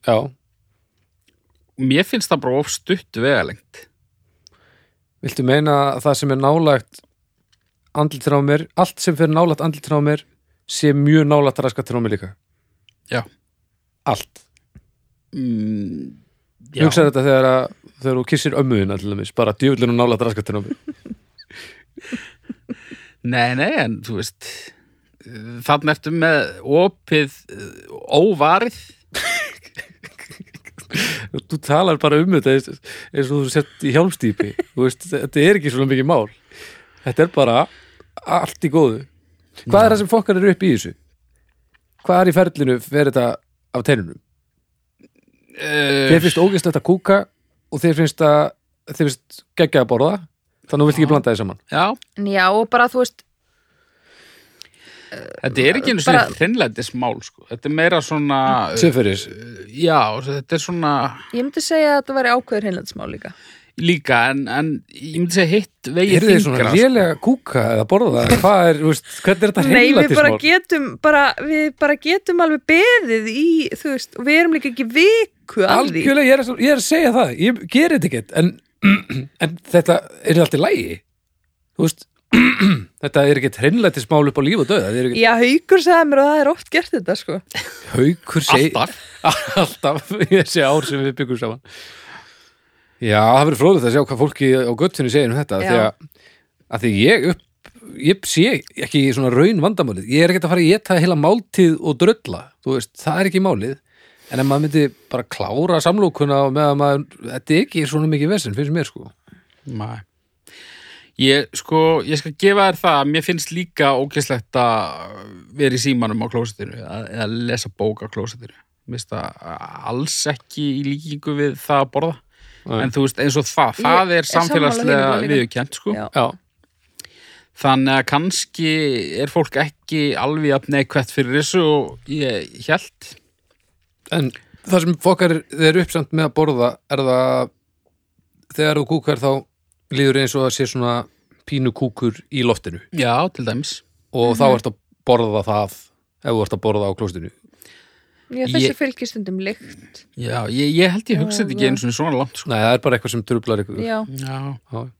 já Mér finnst það bara of stutt vegalengt Viltu meina að það sem er nálægt andlitir á mér, allt sem fyrir nálægt andlitir á mér sé mjög nálægt raskatir á mér líka Já. Allt, mm, já. hugsaðu þetta þegar að þegar þú kissir ömmuðina til dæmis, bara djöfullinu nálægt raskatir á mér Nei, nei, en þú veist þannig ertu með opið eh, óvarið Þú talar bara um þetta eins, eins og þú sett í hjálmstýpi Þú veist, þetta er ekki svona mikið mál Þetta er bara allt í góðu Hvað er það sem fokkar eru upp í þessu? Hvað er í ferlinu fyrir þetta af tennunum? Þér uh, finnst ógeðslegt að kúka og þér finnst að þér finnst geggja að borða þannig að þú vilt ekki blanda þér saman Já, En já og bara þú veist þetta er ekki einu Bara- svona hreinlætismál sko. þetta er meira svona uh, Sjöfyrir, Já, þetta er svona ég myndi segja að þetta væri ákveður hreinlætismál líka líka en, en ég myndi segja hitt sko. vegið er þið svona lélega að kúka eða borða? Hvað er, þú veist, hvernig er þetta Nei, við bara heimlætismál? getum bara, við bara getum alveg beðið í, þú veist, og við erum líka ekki viku að því. Algjörlega, ég er, að- ég er að segja það Ég gerir þetta ekkert en, en þetta er allt í lægi Þú veist Þetta er ekkert hreinlættismál upp á líf og döð Það er ekkert Já, haukur sagði mér og það er oft gert þetta, sko. haukur seg, Alltaf Alltaf Þessi ár sem við byggum saman Já, það verður fróðið að sjá hvað fólki á göttunni segir um þetta Já. Þegar að því ég upp ég sé ekki svona raun vandamálið ég er ekkert að fara að geta heila máltíð og drölla, þú veist, það er ekki málið en ef maður myndi bara klára samlókuna og meðan maður, þetta er ekki svona mikið vesinn, finnst mér sko Nei. Ég, sko, ég skal gefa þér það að mér finnst líka ógeðslegt að vera í símanum á klósitinu að- eða lesa bók á klósitinu Mér finnst það alls ekki í líkingu við það að borða Nei. en þú veist eins og það, það Ég er er sammála samfélagslega hinu líka. viðurkjent sko. Já. Já, þannig að kannski er fólk ekki alveg að neikvætt fyrir þessu og ég held en það sem fokkar þeir upp samt með að borða er það þegar þú kúkar þá líður eins og það sé svona pínu kúkur í loftinu Já, til dæmis og Mhm. þá ert að borða það ef þú ert að borða á klóstinu Já, þessi Ég- ég... fylgir stundum lykt Já, ég, ég held ég hugsa þetta ekki Já. eins og svona langt sko. Nei, það er bara eitthvað sem trublar ykkur Já, Já, Já,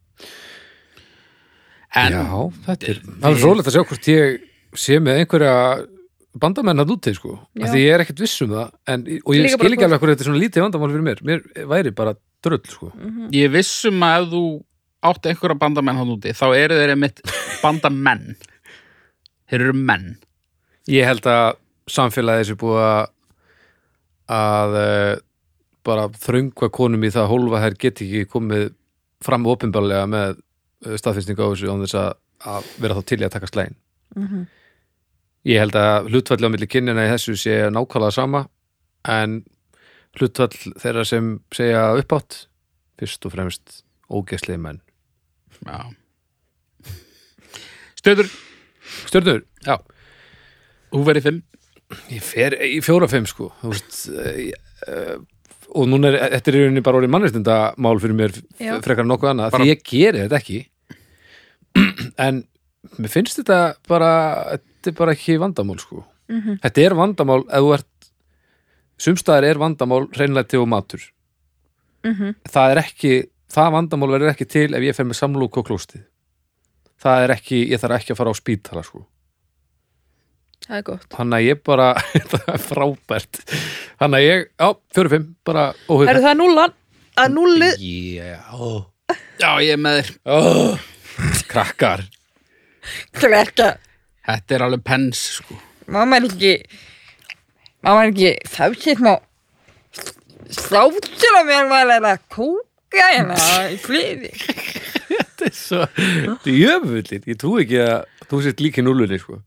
en Já þetta er Það er svolítið að sjá hvort ég sé með einhverja bandamenn að úti sko Já. af því ég er ekkert viss um það en, og ég Líka bara skil ekki hvort- alveg hverju þetta er svona lítið vandamál fyrir mér mér væri bara drull sko ég vissum að ef þú átt einhverja bandamenn hann úti, þá eru þeir einmitt bandamenn Þeir eru menn ég held að samfélagið sé búið að að eh, bara þröngva konum í það hólfa þær get ekki komið fram opinbarlega með staðfinnsningu á þessu án þess að, að vera þá til í að taka slægin Mhm. ég held að hlutfalli á milli kynjana í þessu sé nákvæmlega sama en hlutfall þeirra sem segja uppátt fyrst og fremst ógeslið menn Já Stöður, Stjörnur, já Þú verið fimm ég fer í fjóra-fimm sko þú veist eh, eh, og núna er, þetta er í rauninni bara orðið mannreitindamál fyrir mér Já. f- frekar en nokkuð annað, Bara- því ég geri þetta ekki en mér finnst þetta bara þetta er bara ekki vandamál sko Mhm. þetta er vandamál ef þú ert sumstaðar er vandamál hreinlæti og matur Mhm. það er ekki, það vandamál verður ekki til ef ég fer með samlúk og klóstið það er ekki, ég þarf ekki að fara á spítala sko það er gott þannig að ég bara það er frábært þannig að ég, já, fjóru fimm, bara Er óhugur það núlan? Að núlið yeah. Já, ég er með þér oh. krakkar Klerka Þetta er alveg pens, sko Mamma er ekki Mamma er ekki Það er ekki smá Slátur á mér maður er að kóka hérna í flyði þetta er svo, þetta er jöfnvillin ég trú ekki að þú sért líki núlunni sko.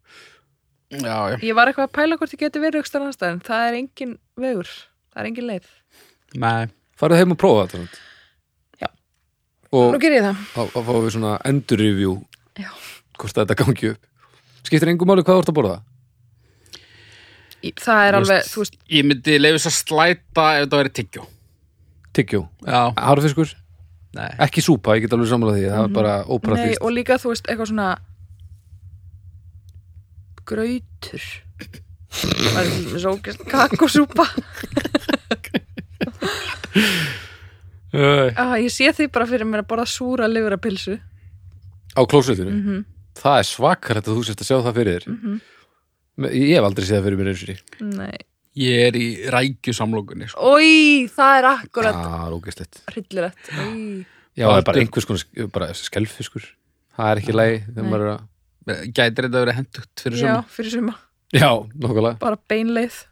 Já, já, Ég var eitthvað að pæla hvort ég geti verið aukstar annars staðar, en það er engin vegur Það er engin leið með farið heim og prófa þetta samt. Já. og Nú gerir ég það þá þá fáum við svona endurreview Já. hvort þetta gangi upp skiptir engum máli hvað þú ert að borða Í- Það er Þú veist- alveg, þú veist Ég myndi leifis að slæta ef þetta verið tyggjó tyggjó, Já, harfiskur, nei ekki súpa ég get alveg samlega því, það er bara Mhm. Nei, ópraktíst og líka þú veist eitthvað svona grautur það er svona sókist kakosúpa Æ. ah, ég sé því bara fyrir mér að borða súra lifurapilsu á klósutinu mm -hmm. Það er svakar að þú sérst að sjá það fyrir þér Mhm. Me- Ég hef aldrei séð það fyrir mér eins og því Ég er í rækjusamlokunni, sko Ói, það er Það akkurat er ógæstlegt hryllilegt Oj. Já, það er bara Baldur. einhvers konar sk- bara skelfiskur Það er ekki lægi þegar Nei. maður er að Gætir þetta verið hendugt fyrir Já, suma fyrir suma, Já, nokkulega bara beinleið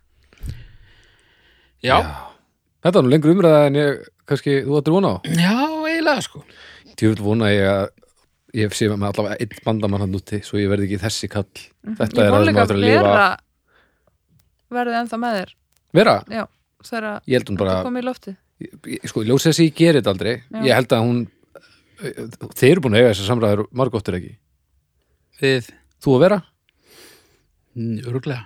Já, Þetta er nú lengur umræða en ég kannski, þú áttir vona á já, eiginlega, sko Ég vil vona ég að ég sé með allavega einn bandamann hann úti svo ég verði ekki þessi kall Þetta Mhm. Ég er vona að líka maður að að lifa af. vera verðið ennþá með þér Vera, þegar ég held hún bara það komið í lofti ég- sko, ég ljósi þess að ég geri þetta aldrei Já. Ég held að hún Þeir eru búin að eiga þess að samræður margóttur ekki Við, Þú að vera? öruglega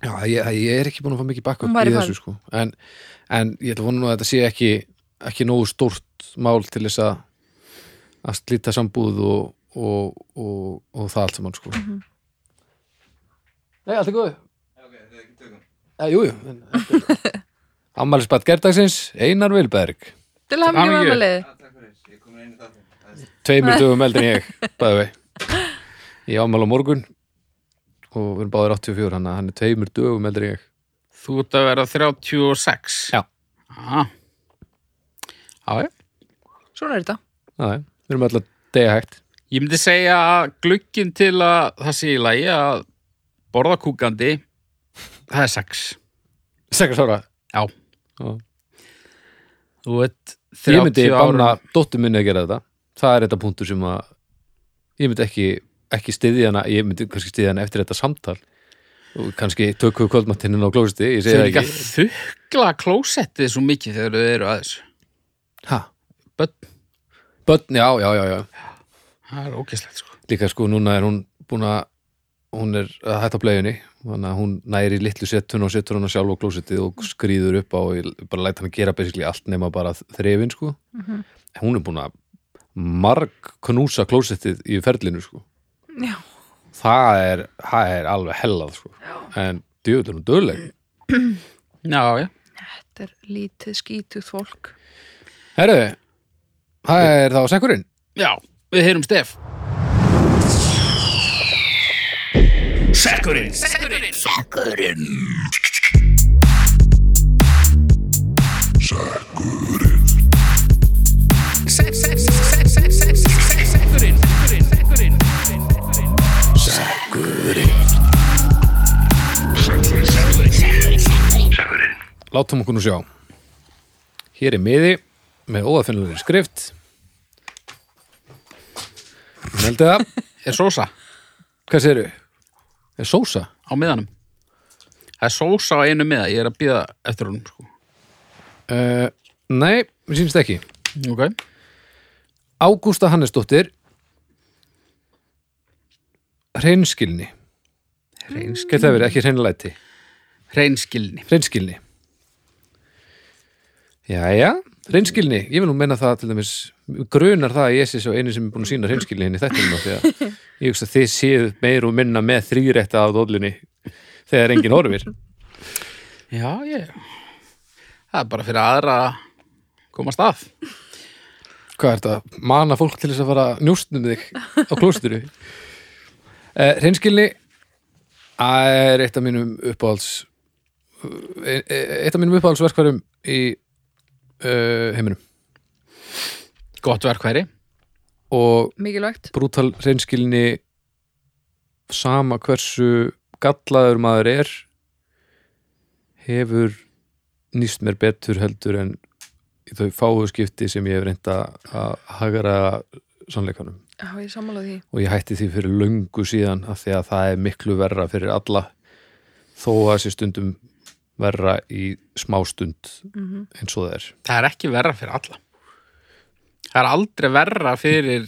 Já, ég, ég er ekki búin að fá mikið bakka Hún upp væri í þessu sko en, en ég ætla að vona nú að þetta sé ekki ekki nógu stórt mál til þess að að slíta sambúð og, og, og, og það allt saman sko Mhm. Nei, allt er góð Já, jú, jú en- en- Ammælisbætt gerdagsins Einar Vilberg Til hann mjög hamingju. með leiði Tveimur dögum eldri en ég, bæði vei Ég ámæla morgun og við erum báðir 84 hann að hann er tveimur dögum eldri en ég Þú ert að vera 36 Já. ah. Já, já Svona er þetta Næ, við erum alltaf degja hægt Ég myndi segja að glukkin til að það sé í lagi að borða kúkandi það er sex Sex ára Já. Já. Þú veit Ég myndi 30 banna ára dóttur minni að gera þetta Það er þetta punktur sem að ég myndi ekki, ekki styðja hana ég myndi kannski styðja hana eftir þetta samtal og kannski tökum við kvöldmattinn á klósti ég Þau segi það líka ekki þukla klósettið svo mikið þegar þau eru að þessu ha, Bönn, Börn, já, já, já, já það er ógeðslegt sko Líka sko núna er hún búin að hún er að hætta á bleiðinni þannig að hún næri litlu settun og setur hana sjálf á klósettið og skrýður upp á og ég bara læt hann að gera basically allt nema bara þrefin sko En hún er búin að marg knúsa klósettið í ferlinu sko Já. það er, það er alveg hellað sko en djöfull er hún döðleg Já, já. Þetta er lítið skítugt fólk. Herru, það er þá sekkurinn Já, við heyrum Stef. Sekkurinn. Sekkurinn. Sekkurinn. Sekkurinn. Sekkurinn. látum okkur nú sjá hér er miði með óafinnulegri skrift meldi það Er sósa á hvað séru? er sósa? miðanum? Það er sósa á einu miða, ég er að býða eftir honum, sko. Uh, nei, mér sýnst ekki Ok. Ágústa Hannesdóttir hreinskilni hreinskilni geta verið ekki hreinlæti Hreinskilni. hreinskilni Jæja, hreinskilni ég vil nú menna það til dæmis grunar það að ég sé svo einu sem er búin að sína hreinskilni henni þetta um því að ég hugsa að þið séð meir og minna með þrýrætta af dólunni þegar enginn horfir Já, ég. Það er bara fyrir aðra að komast að. hvað er þetta, mana fólk til þess að fara njústnum þig á klósturu uh, reynskilni er eitt af mínum uppáhalds eh, eh, eitt af mínum uppáhaldsverkvarum í uh, heiminum Gott verkværi. og Mikilvægt. brútal reynskilni sama hversu gallaður maður er hefur nýst mér betur heldur en í þau fáu skipti sem ég hef reynda að hagara sannleikanum Já, ég sammála því. og ég hætti því fyrir löngu síðan af því að það er miklu verra fyrir alla þó að sé stundum verra í smástund eins og það er Það er ekki verra fyrir alla. Það er aldrei verra fyrir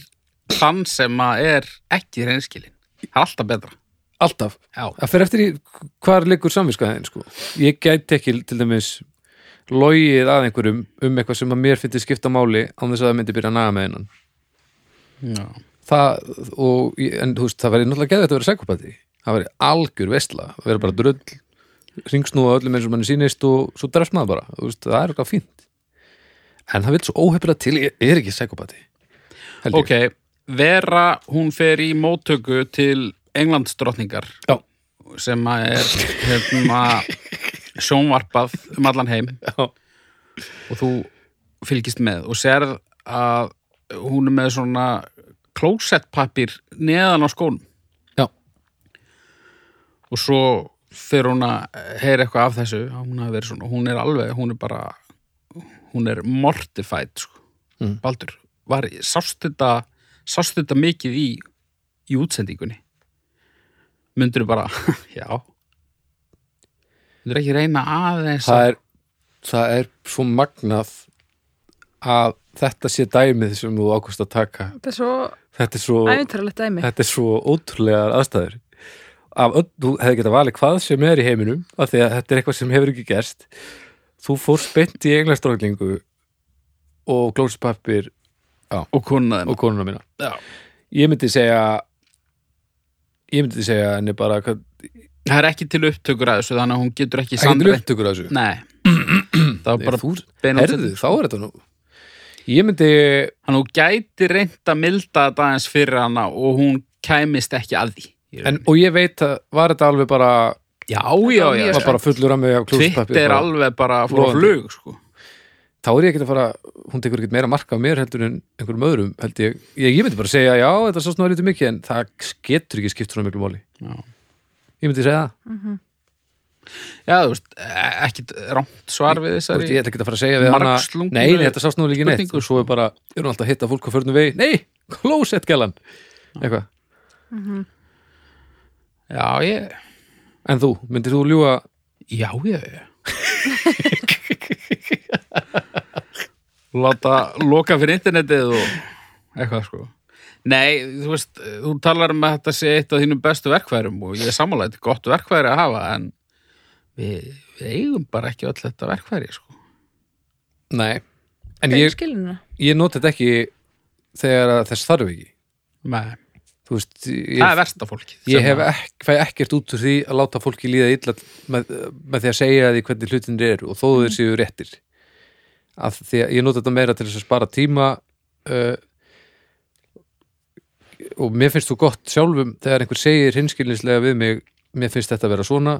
þann sem að er ekki reynskilin. Það er alltaf betra. alltaf, Já. að fyrir eftir í hvar liggur samviskaðin sko ég gæti ekki til dæmis logið að einhverjum um eitthvað sem að mér fyndi skipta máli án þess að það myndi byrja að naga með hennan Já. það, og, ég- en þú veist, það væri náttúrulega geðvægt að vera sækupati, það væri algjör vesla, það væri bara drull ringsnúa öllum eins og manni sýnist og svo drefst maður bara, þú veist, það er eitthvað fínt en það vil svo óhefilega til ég er ekki sækupati Ok, Vera, hún fer í móttöku til Englandsdrottningar Já. sem að er hérna, sjónvarpað um allan heim Já. og þú fylgist með og serð að hún er með svona klósettpapir neðan á skónum Já. og svo fyrir hún að heyra eitthvað af þessu að hún, hafi verið svona, hún er alveg, hún er bara hún er mortified sko. Mm. Baldur, var, sást þetta sást þetta mikið í í útsendingunni myndur bara, já myndur ekki reyna aðeins það að- er, það er svo magnað að þetta sé dæmið sem þú ákvæmst að taka Þetta er svo þetta er svo, æfintarlegt dæmi. þetta er svo ótrúlegar aðstæður Af, öll- þú hefði getað valið hvað sem er í heiminum af því að þetta er eitthvað sem hefur ekki gerst þú fórst beint í englastróklingu og glóspappir og kunnaði og konuna mína Já. ég myndi segja ég myndi segja henni bara hvað, það er ekki til upptökur að þessu þannig að hún getur ekki ekki sannrætt upptökur af þessu Nei, það var bara þú, bein herðu, útsending. þá er þetta nú ég myndi, Þannig að hún gæti reynt að milda þetta aðeins fyrir hana og hún kæmist ekki að því í en, rauninni. og ég veit að var þetta alveg bara Já, já, var já mjög var bara fullur að mig af Twitt klóspappi er alveg bara að fóra Logandi. flug sko. þá er ég ekkert að fara, hún tekur ekkert meira marka á mér heldur en einhverjum öðrum held ég ég, ég myndi bara segja, já, þetta sást nú lítið mikið en það getur ekki skipt svona miklu máli Já. ég myndi segja það, Já, þú veist, e- ekkit rámt svar við Þú veist, ég þessari ætla ekki að fara að segja við hana Margslungnu nei, nei, þetta sást nú líka neitt spurningu, og svo er bara, er hún alltaf að hitta fólk á förnum vegi nei, klósettgælan eitthvað, Já, ég en þú, myndir þú ljúga Já, já, já Láta loka fyrir internetið og eitthvað sko Nei, þú veist, þú talar um að þetta sé eitt af þínum bestu verkfærum og ég er sammála, þetta er gott verkfæri að hafa en við, við eigum bara ekki öll þetta verkfæri, sko. Nei, en Ég... ég, skilina ég noti þetta ekki þegar að þess þarf ekki Nei, Þú veist, ég, það er versta fólkið. ég sem hef að- ek, fæ ekkert út úr því að láta fólki líða illa með, með því að segja því hvernig hlutinir eru og þó þeir Mhm. séu réttir að því að ég nota þetta meira til þess að spara tíma uh, og mér finnst þú gott sjálfum þegar einhver segir hinskilinslega við mig mér finnst þetta að vera svona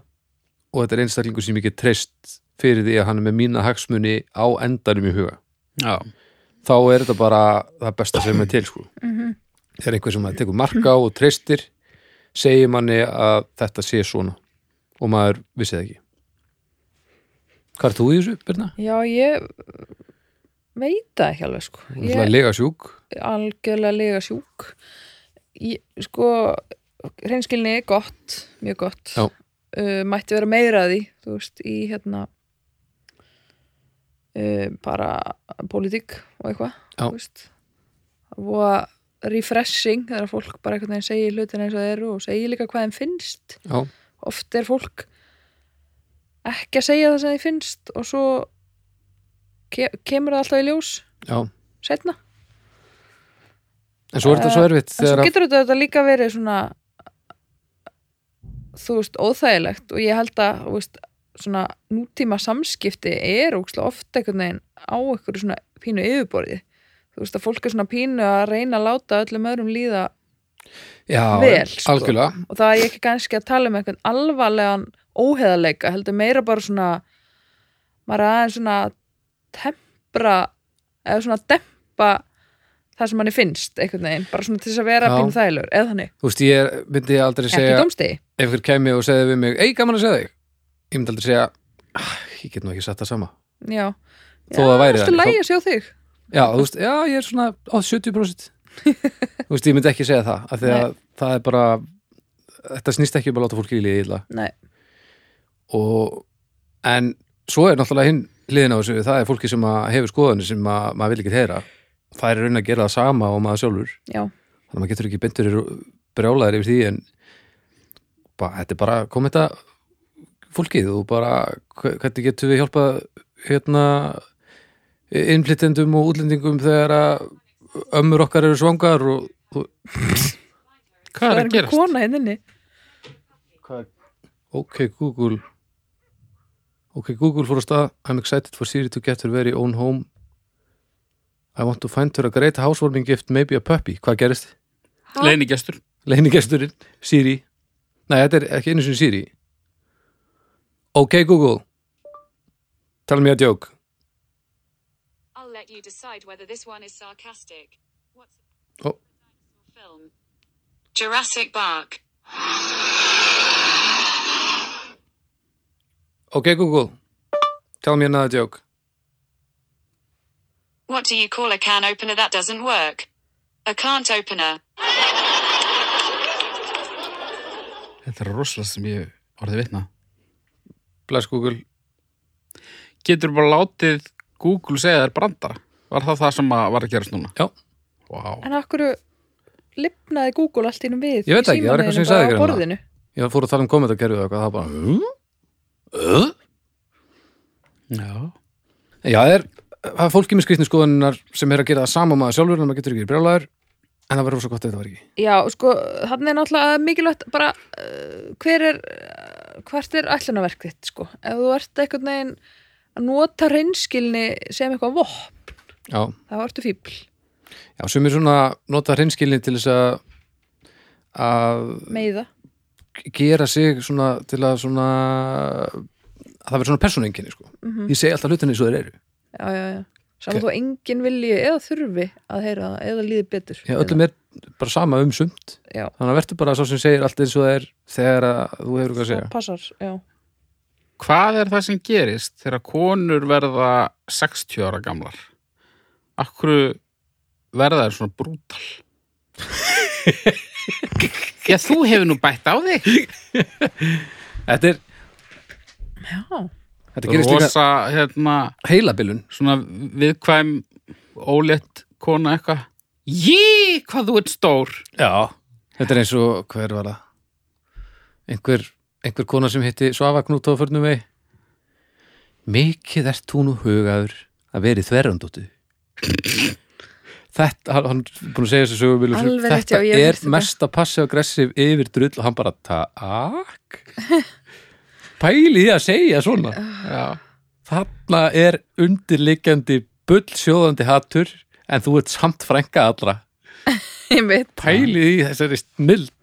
og þetta er einstaklingur sem ég get treyst fyrir því að hann er með mína hagsmuni á endanum í huga Já, þá er þetta bara það besta sem er til sko. Mhm. þegar einhver sem maður tekur marka á og treystir segir manni að þetta sé svona og maður vissi það ekki Hvað er þú í þessu, Birna? Já, ég veit það ekki alveg sko Þú Ég ætlaði að lega sjúk algjörlega lega sjúk ég, Sko reynskilni er gott, mjög gott Já. uh, Mætti vera meira að því þú veist, í hérna uh, bara pólitík og eitthvað Já. þú veist. og refreshing þegar fólk bara einhvern veginn segir hlutin eins og þeir eru og segir líka hvað þeim finnst Já, oft er fólk ekki að segja það sem þið finnst og svo ke kemur það alltaf í ljós já setna. En svo er þetta svo erfitt Eh, En svo þegar að getur þetta auðvitað líka verið svona þú veist, óþægilegt og ég held að þú veist, svona nútíma samskipti er ókslega oft einhvern veginn á einhverju svona pínu yfirborði þú veist að fólk er svona pínu að reyna að láta öllum öðrum líða Já, vel, sko. algjörlega og það er ég ekki kannski að tala um einhvern alvarlegan óheðarleika, heldur meira bara svona maður er aðeins svona að tempra eða svona dempa það sem manni finnst einhvern veginn, bara svona til þess að vera Já. pínu þægilegur, eða þannig, Þú veist, ég er- myndi aldrei ekki segja dómstegi ef einhver kæmi og segði við mig Ei, gaman að segja þig Ég myndi aldrei segja "Ah, Ég get nú ekki sett það sama já, Þó það væri alltaf þannig, lægi að sjá þig Já, þú veist, já, ég er svona á 70% Þú veist, ég myndi ekki segja það af því að það er bara þetta snýst ekki um að láta fólki í liði illa Nei, og, en svo er náttúrulega hinn liðin á þessu, það er fólki sem að hefur skoðanir sem að, maður vil ekki heyra það er í raun að gera það sama og maður sjálfur já, þannig að maður getur ekki byndur brjálaðir yfir því en bara, þetta er bara, kom þetta fólkið og bara hve- hvernig getum við hjálpa hérna innflytjendum og útlendingum þegar að ömmur okkar eru svangar og, og hvað það er er að einhver gerast? kona hérna inni ok Google ok Google fór á stað I'm excited for Siri to get her very own home I want to find her a great housewarming gift maybe a puppy, hvað gerist? Leinigestur. leinigesturinn, Siri Nei, þetta er ekki einu sinni Siri Ok Google Tell me a joke I'll let you decide whether this one is sarcastic. What's Oh. film? Jurassic Bark. Ok Google Tell me another joke What do you call a can opener that doesn't work? A can't opener. Þetta er rosalega sem ég orðið vitna. Bless Google Getur bara látið Google segja þær branda. Var það það sem að var að gerast núna? Já. Vá. En af hverju lifnaði Google allt innum við Ég veit í ekki, það var eitthvað sem ég símanum sagði bara á hérna. borðinu. Ég fór að tala um kommentarkerfið og eitthvað það bara "Hm? Huh? Já. Já, það er, það er fólki með skrýtni skoðunar sem er að gera það sama og maður sjálfur en maður getur ekki brjálæður en það verður svo gott að þetta var ekki Já, sko, þannig er náttúrulega mikilvægt bara uh, hver er uh, hvert er ætlunarverk þitt, sko ef þú ert einhvern veginn að nota reynskilni sem eitthvað vopn Já, þá ertu fíbl, já sem er svona nota hreinskilin til þess að að meiða gera sig svona til að svona að það verður svona persónuenginni sko Mhm. ég segi alltaf hlutinni svo þeir eru já, já, já, saman þú engin vilji eða þurfi að heyra það, eða líði betur Já, öllum er bara sama um sumt Já. þannig að verður bara sá sem segir allt eins og það er þegar að þú hefur eitthvað að segja það passar, já, Hvað er það sem gerist þegar konur verða 60 ára gamlar? Akkur verða þær svona brútal? Já, þú hefur nú bætt á þig. Þetta er, já, þetta gerist líka Rosa, hérna, heilabilun svona viðkvæm, ólétt kona eitthvað. Jí, hvað þú ert stór Já, þetta er eins og hver var það? Einhver, einhver kona sem hitti Svava Knúta á förnum vei Mikið ert þú nú hugaður að veri þverjandóttu Þetta, hann- hann er búin að segja þessu sögum Alveg rétt, já, Þetta ég hef er heyrt þetta. mesta passið aggressiv yfir drull og hann bara takk Pæli því að segja svona Já, Þarna er undirliggjandi bullsjóðandi hattur en þú ert samt frænka allra einmitt Pæli því þessari snild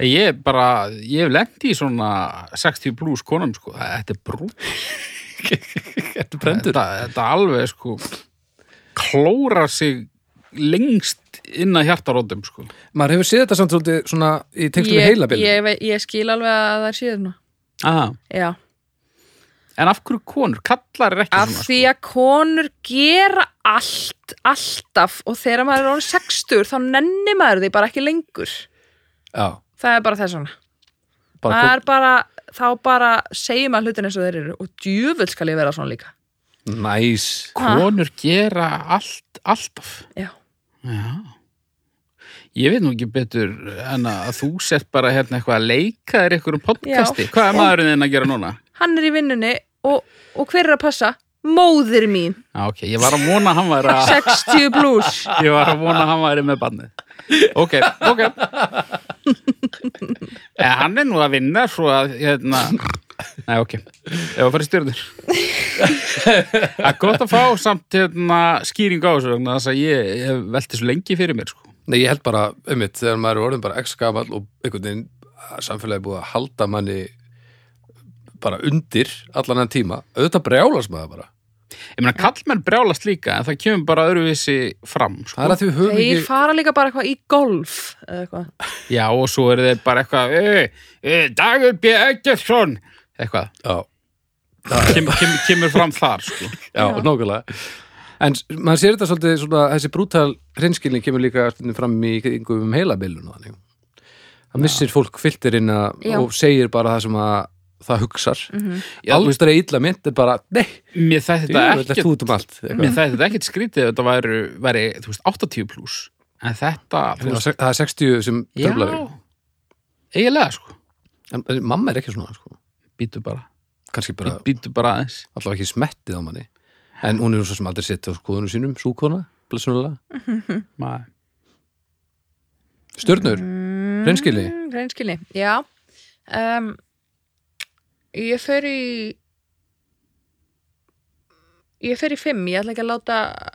Ég er bara, ég hef lendi í svona 60 plus konum, sko, þetta er brú Ertu þetta, þetta alveg, sko klóra sig lengst inn að hjartarótum, sko Maður hefur séð þetta samt svolítið svona í tengstum við ég, heilabili ég, vei- ég skil alveg að það séu nú ah. Já, En af hverju konur, kallar er ekki af svona sko. því sko. að konur gera allt, alltaf og þegar maður er orðin 60 þá nenni maður því bara ekki lengur Já, það er bara þess vegna bara Það kom, er bara, þá bara segjum að hlutin eins og þeir eru og djöfull skal ég vera svona líka næs Konur gera allt, alltaf Já, Já. Ég veit nú ekki betur en að þú sett bara hérna eitthvað að leika þér eitthvað um podcasti. Já. Hvað er maðurinn þinn að gera núna? hann er í vinnunni og, og hver er að passa? Móðir mín, Já, ok, ég var að vona að hann Ah. væri að, 60 plus ég var að vona að hann væri með bannið. Ok, ok. En hann er nú að vinna svo að, hérna, nei, ok, ef að fara í stjörnur. Það er gott að fá samt, hérna, skýring á þessu vegna þess að ég, ég velti svo lengi fyrir mér, sko. Nei, ég held bara, einmitt, þegar maður er orðin bara x gamall og einhvern veginn að samfélagi er búið að halda manni bara undir allan enn tíma auðvitað brjálast maður bara Ég meina, kallmenn brjálast líka, en það kemur bara öðruvísi fram, sko. Það er að því við höfum Þeir ekki fara líka bara eitthvað í golf eða eitthvað Já, og svo eru þeir bara eitthvað, "Ö, ö, Dagur B. Eggertsson, eitthvað, Já, kem, kem, kemur fram þar, sko. já, Já. nákvæmlega En s- maður sér þetta svolítið svona, þessi brútal hreinskilin kemur líka stundum fram í kringum heilabilun og þannig Það missir fólk filterinn að- Já. Mhm. og segir bara það sem að það hugsar Já, þú veist, aldrei illa mynd er bara, nei, mér þætti þú þetta ert þú ekkert, út um allt mér eitthvað. þætti þetta ekkert skrítið ef þetta væri, væri, þú veist, 80 pluss, en þetta, þú veist, það er 60 sem já, tröflar þig. eiginlega, sko, en en mamma er ekki svona sko. býtu bara, kannski bara, Bý- býtu bara aðeins. allavega ekki smettið á manni en hún er nú svo sem aldrei sitt á skoðunum sínum súkona, blessunulega Maður. stjörnur, reynskili Mm, Hreinskilni, já um, Ég fer í Ég fer í fimm, ég ætla ekki að láta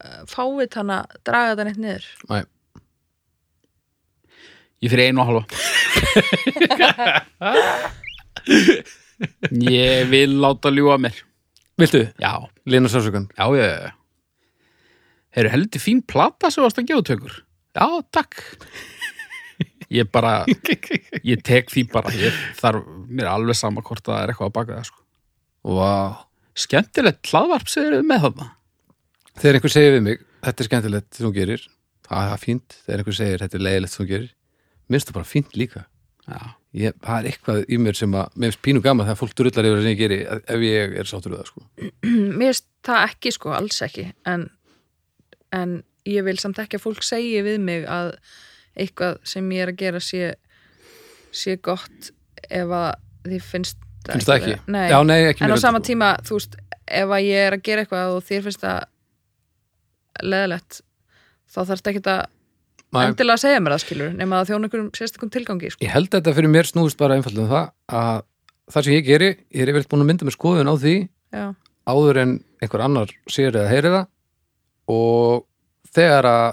uh, fávit hana draga þetta neitt niður Nei. Ég fyrir einu og halva Ég vil láta ljúa mér viltu, Já, Lena Sársökan já, já, já Eru heldur fín plata sem varst að gefa tökur Já, takk Ég bara Ég tek því bara ég, þarf, Mér er alveg sama hvort það er eitthvað að baka það sko. wow. Skemmtilegt hlaðvarp sem eru með þarna þegar einhver segir við mig, þetta er skemmtilegt sem þú gerir, það er fínt þegar einhver segir, þetta er leiðilegt sem þú gerir minnst það bara fínt líka Já, ég, það er eitthvað í mér sem að, mér finnst pínu gaman þegar fólk drullar yfir það sem ég geri ef ég er sáttur við það sko. Mér finnst það ekki sko, alls ekki en, en ég vil samt ekki að fólk segi við mig að eitthvað sem ég er að gera sé, sé gott ef að þið finnst finnst það ekki? vera- Nei, Já, nei, ekki en á mér sama heldur, sko. tíma, þú veist, ef að ég er að gera eitthvað og þér finnst það leðilegt þá þarfst ekki að Nei. endilega að segja mér það skilur nema að þjóna einhverjum sérstakum tilgangi sko. ég held að þetta fyrir mér snúðist bara einfaldum það að það sem ég geri, ég er yfirleitt búin að mynda mér skoðun á því Já, áður en einhver annar sér eða heyri það og þegar að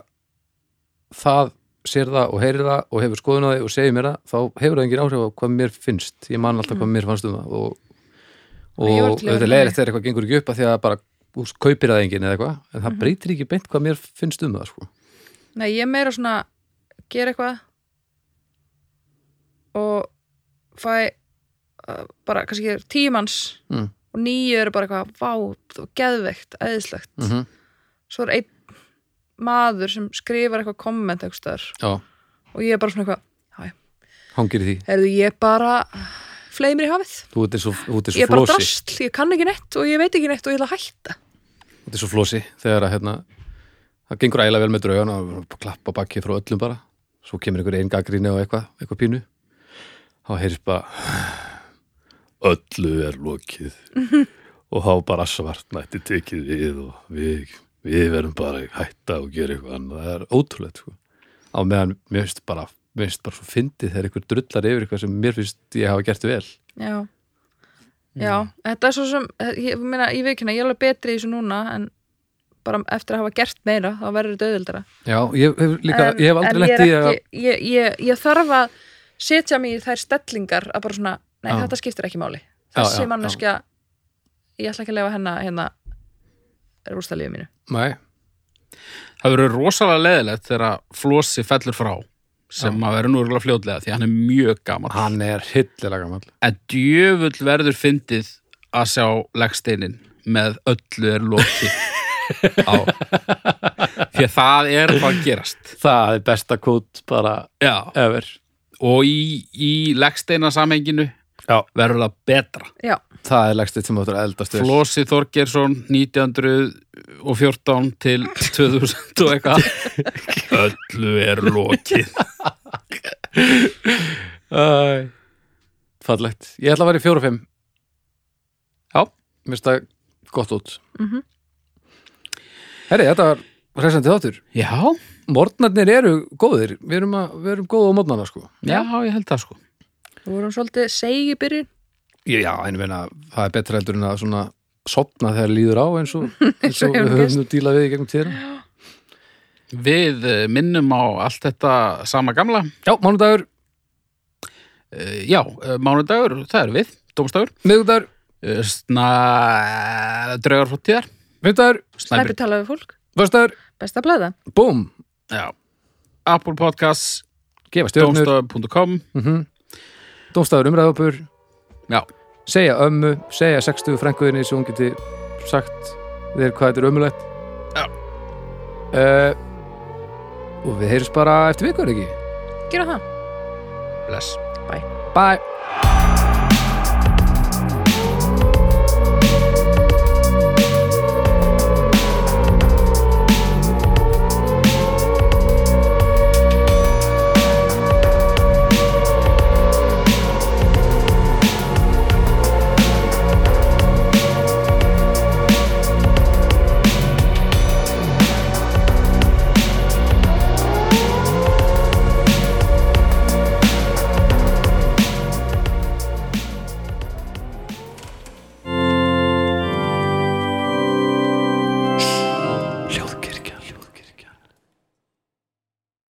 það sér það og heyri það og hefur skoðun á því og segir mér það, þá hefur það engin áhrif á hvað mér finnst, ég man alltaf hvað mér fannst um það og, Ég var og til í að þetta vera er leiðilegt þegar eitthvað gengur ekki upp að því að bara ús, kaupir það engin eða eitthvað, en það Mhm. breytir ekki beint hvað mér finnst um það sko. nei, ég er meira svona gera eitthvað og fæ uh, bara kannski tíu manns Mm. og nýju eru bara eitthvað vá, þú geðveikt, æðislegt mm -hmm. svo er einn maður sem skrifar eitthvað komment eitthvað stöðar Já, og ég er bara svona eitthvað, já, já hangir í því Herðu, ég bara fleið mér í hafið. Þú ert eins og, þú ert eins Ég og er bara flósi drasl, ég kann ekki nett og ég veit ekki nett og ég ætla að hætta. Þetta er svo flósi þegar að hérna það gengur ægilega vel með draugan og klappa bakið frá öllum bara svo kemur einhver einn gaggrinni og eitthvað, eitthvað pínu þá heyrist bara öllu er lokið og þá bara svartnætti tekið við og við, við verðum bara að hætta og gera eitthvað annað, það er ótrúlegt sko. á meðan mér finnst bara mér finnst bara svo fyndið þegar einhver drullar yfir eitthvað sem mér finnst ég hafa gert vel Já Já, Mm. þetta er svo sem, ég meina, ég veikina, ég er alveg betri í þessu núna en bara eftir að hafa gert meira þá verður þetta auðvildara já, ég hef líka, en, ég hef aldrei en ég lett er í að ekki, ég, ég, ég þarf að setja mig í þær stellingar að bara svona, nei, Já. þetta skiptir ekki máli Já, já, þessi já. manneskja ég ætla ekki að lefa hennar hérna rústa lífið mínu nei, Það verður rosalega leðilegt þegar að Flossi fellur frá sem að verður nú örgulega fljótlega því hann er mjög gaman hann er hillilega gammal en djöfull verður fyndið að sjá leggsteinin með öllu er lokið á því að það er hvað gerast það er besta kót bara já. ever og í, í leggsteina samhenginu já, verður það betra Já, það er legstitt sem áttur að eldast vel. Flossi Þorgersson 1914 til 2000 og eitthvað öllu er lokið Æ, fallegt ég ætla að vera í fjóra og fimm Já. mér finnst það gott út herri, þetta var reysandi þáttur já, morgnarnir eru góðir við erum, að, við erum góð á morgnarna sko já, ég held það sko þú vorum svolítið segi byrjun já, en ég meina, það er betra heldur en að svona sopna þegar líður á eins og, eins og hefur við höfum nú dílað við í gegnum tíðina Við eh, minnum á allt þetta sama gamla. já, mánudagur, Eh, Já, eh, mánudagur, það er við, dómstagur. miðgudagur, Eh, Sna... Draugar fóttíðar. miðgudagur Snæpi tala við fólk, vörstagur, besta að blæða búm Já. Apple Podcasts, gefa stjórnur, dómstagur.com. Mhm. dómstagur umræðapur Já. segja ömmu, segja 60 frænguðinni svo hún geti sagt þér hvað þetta er ömulegt Já. Eh, og við heyrjum bara eftir vikur ekki Gera það Bless. bye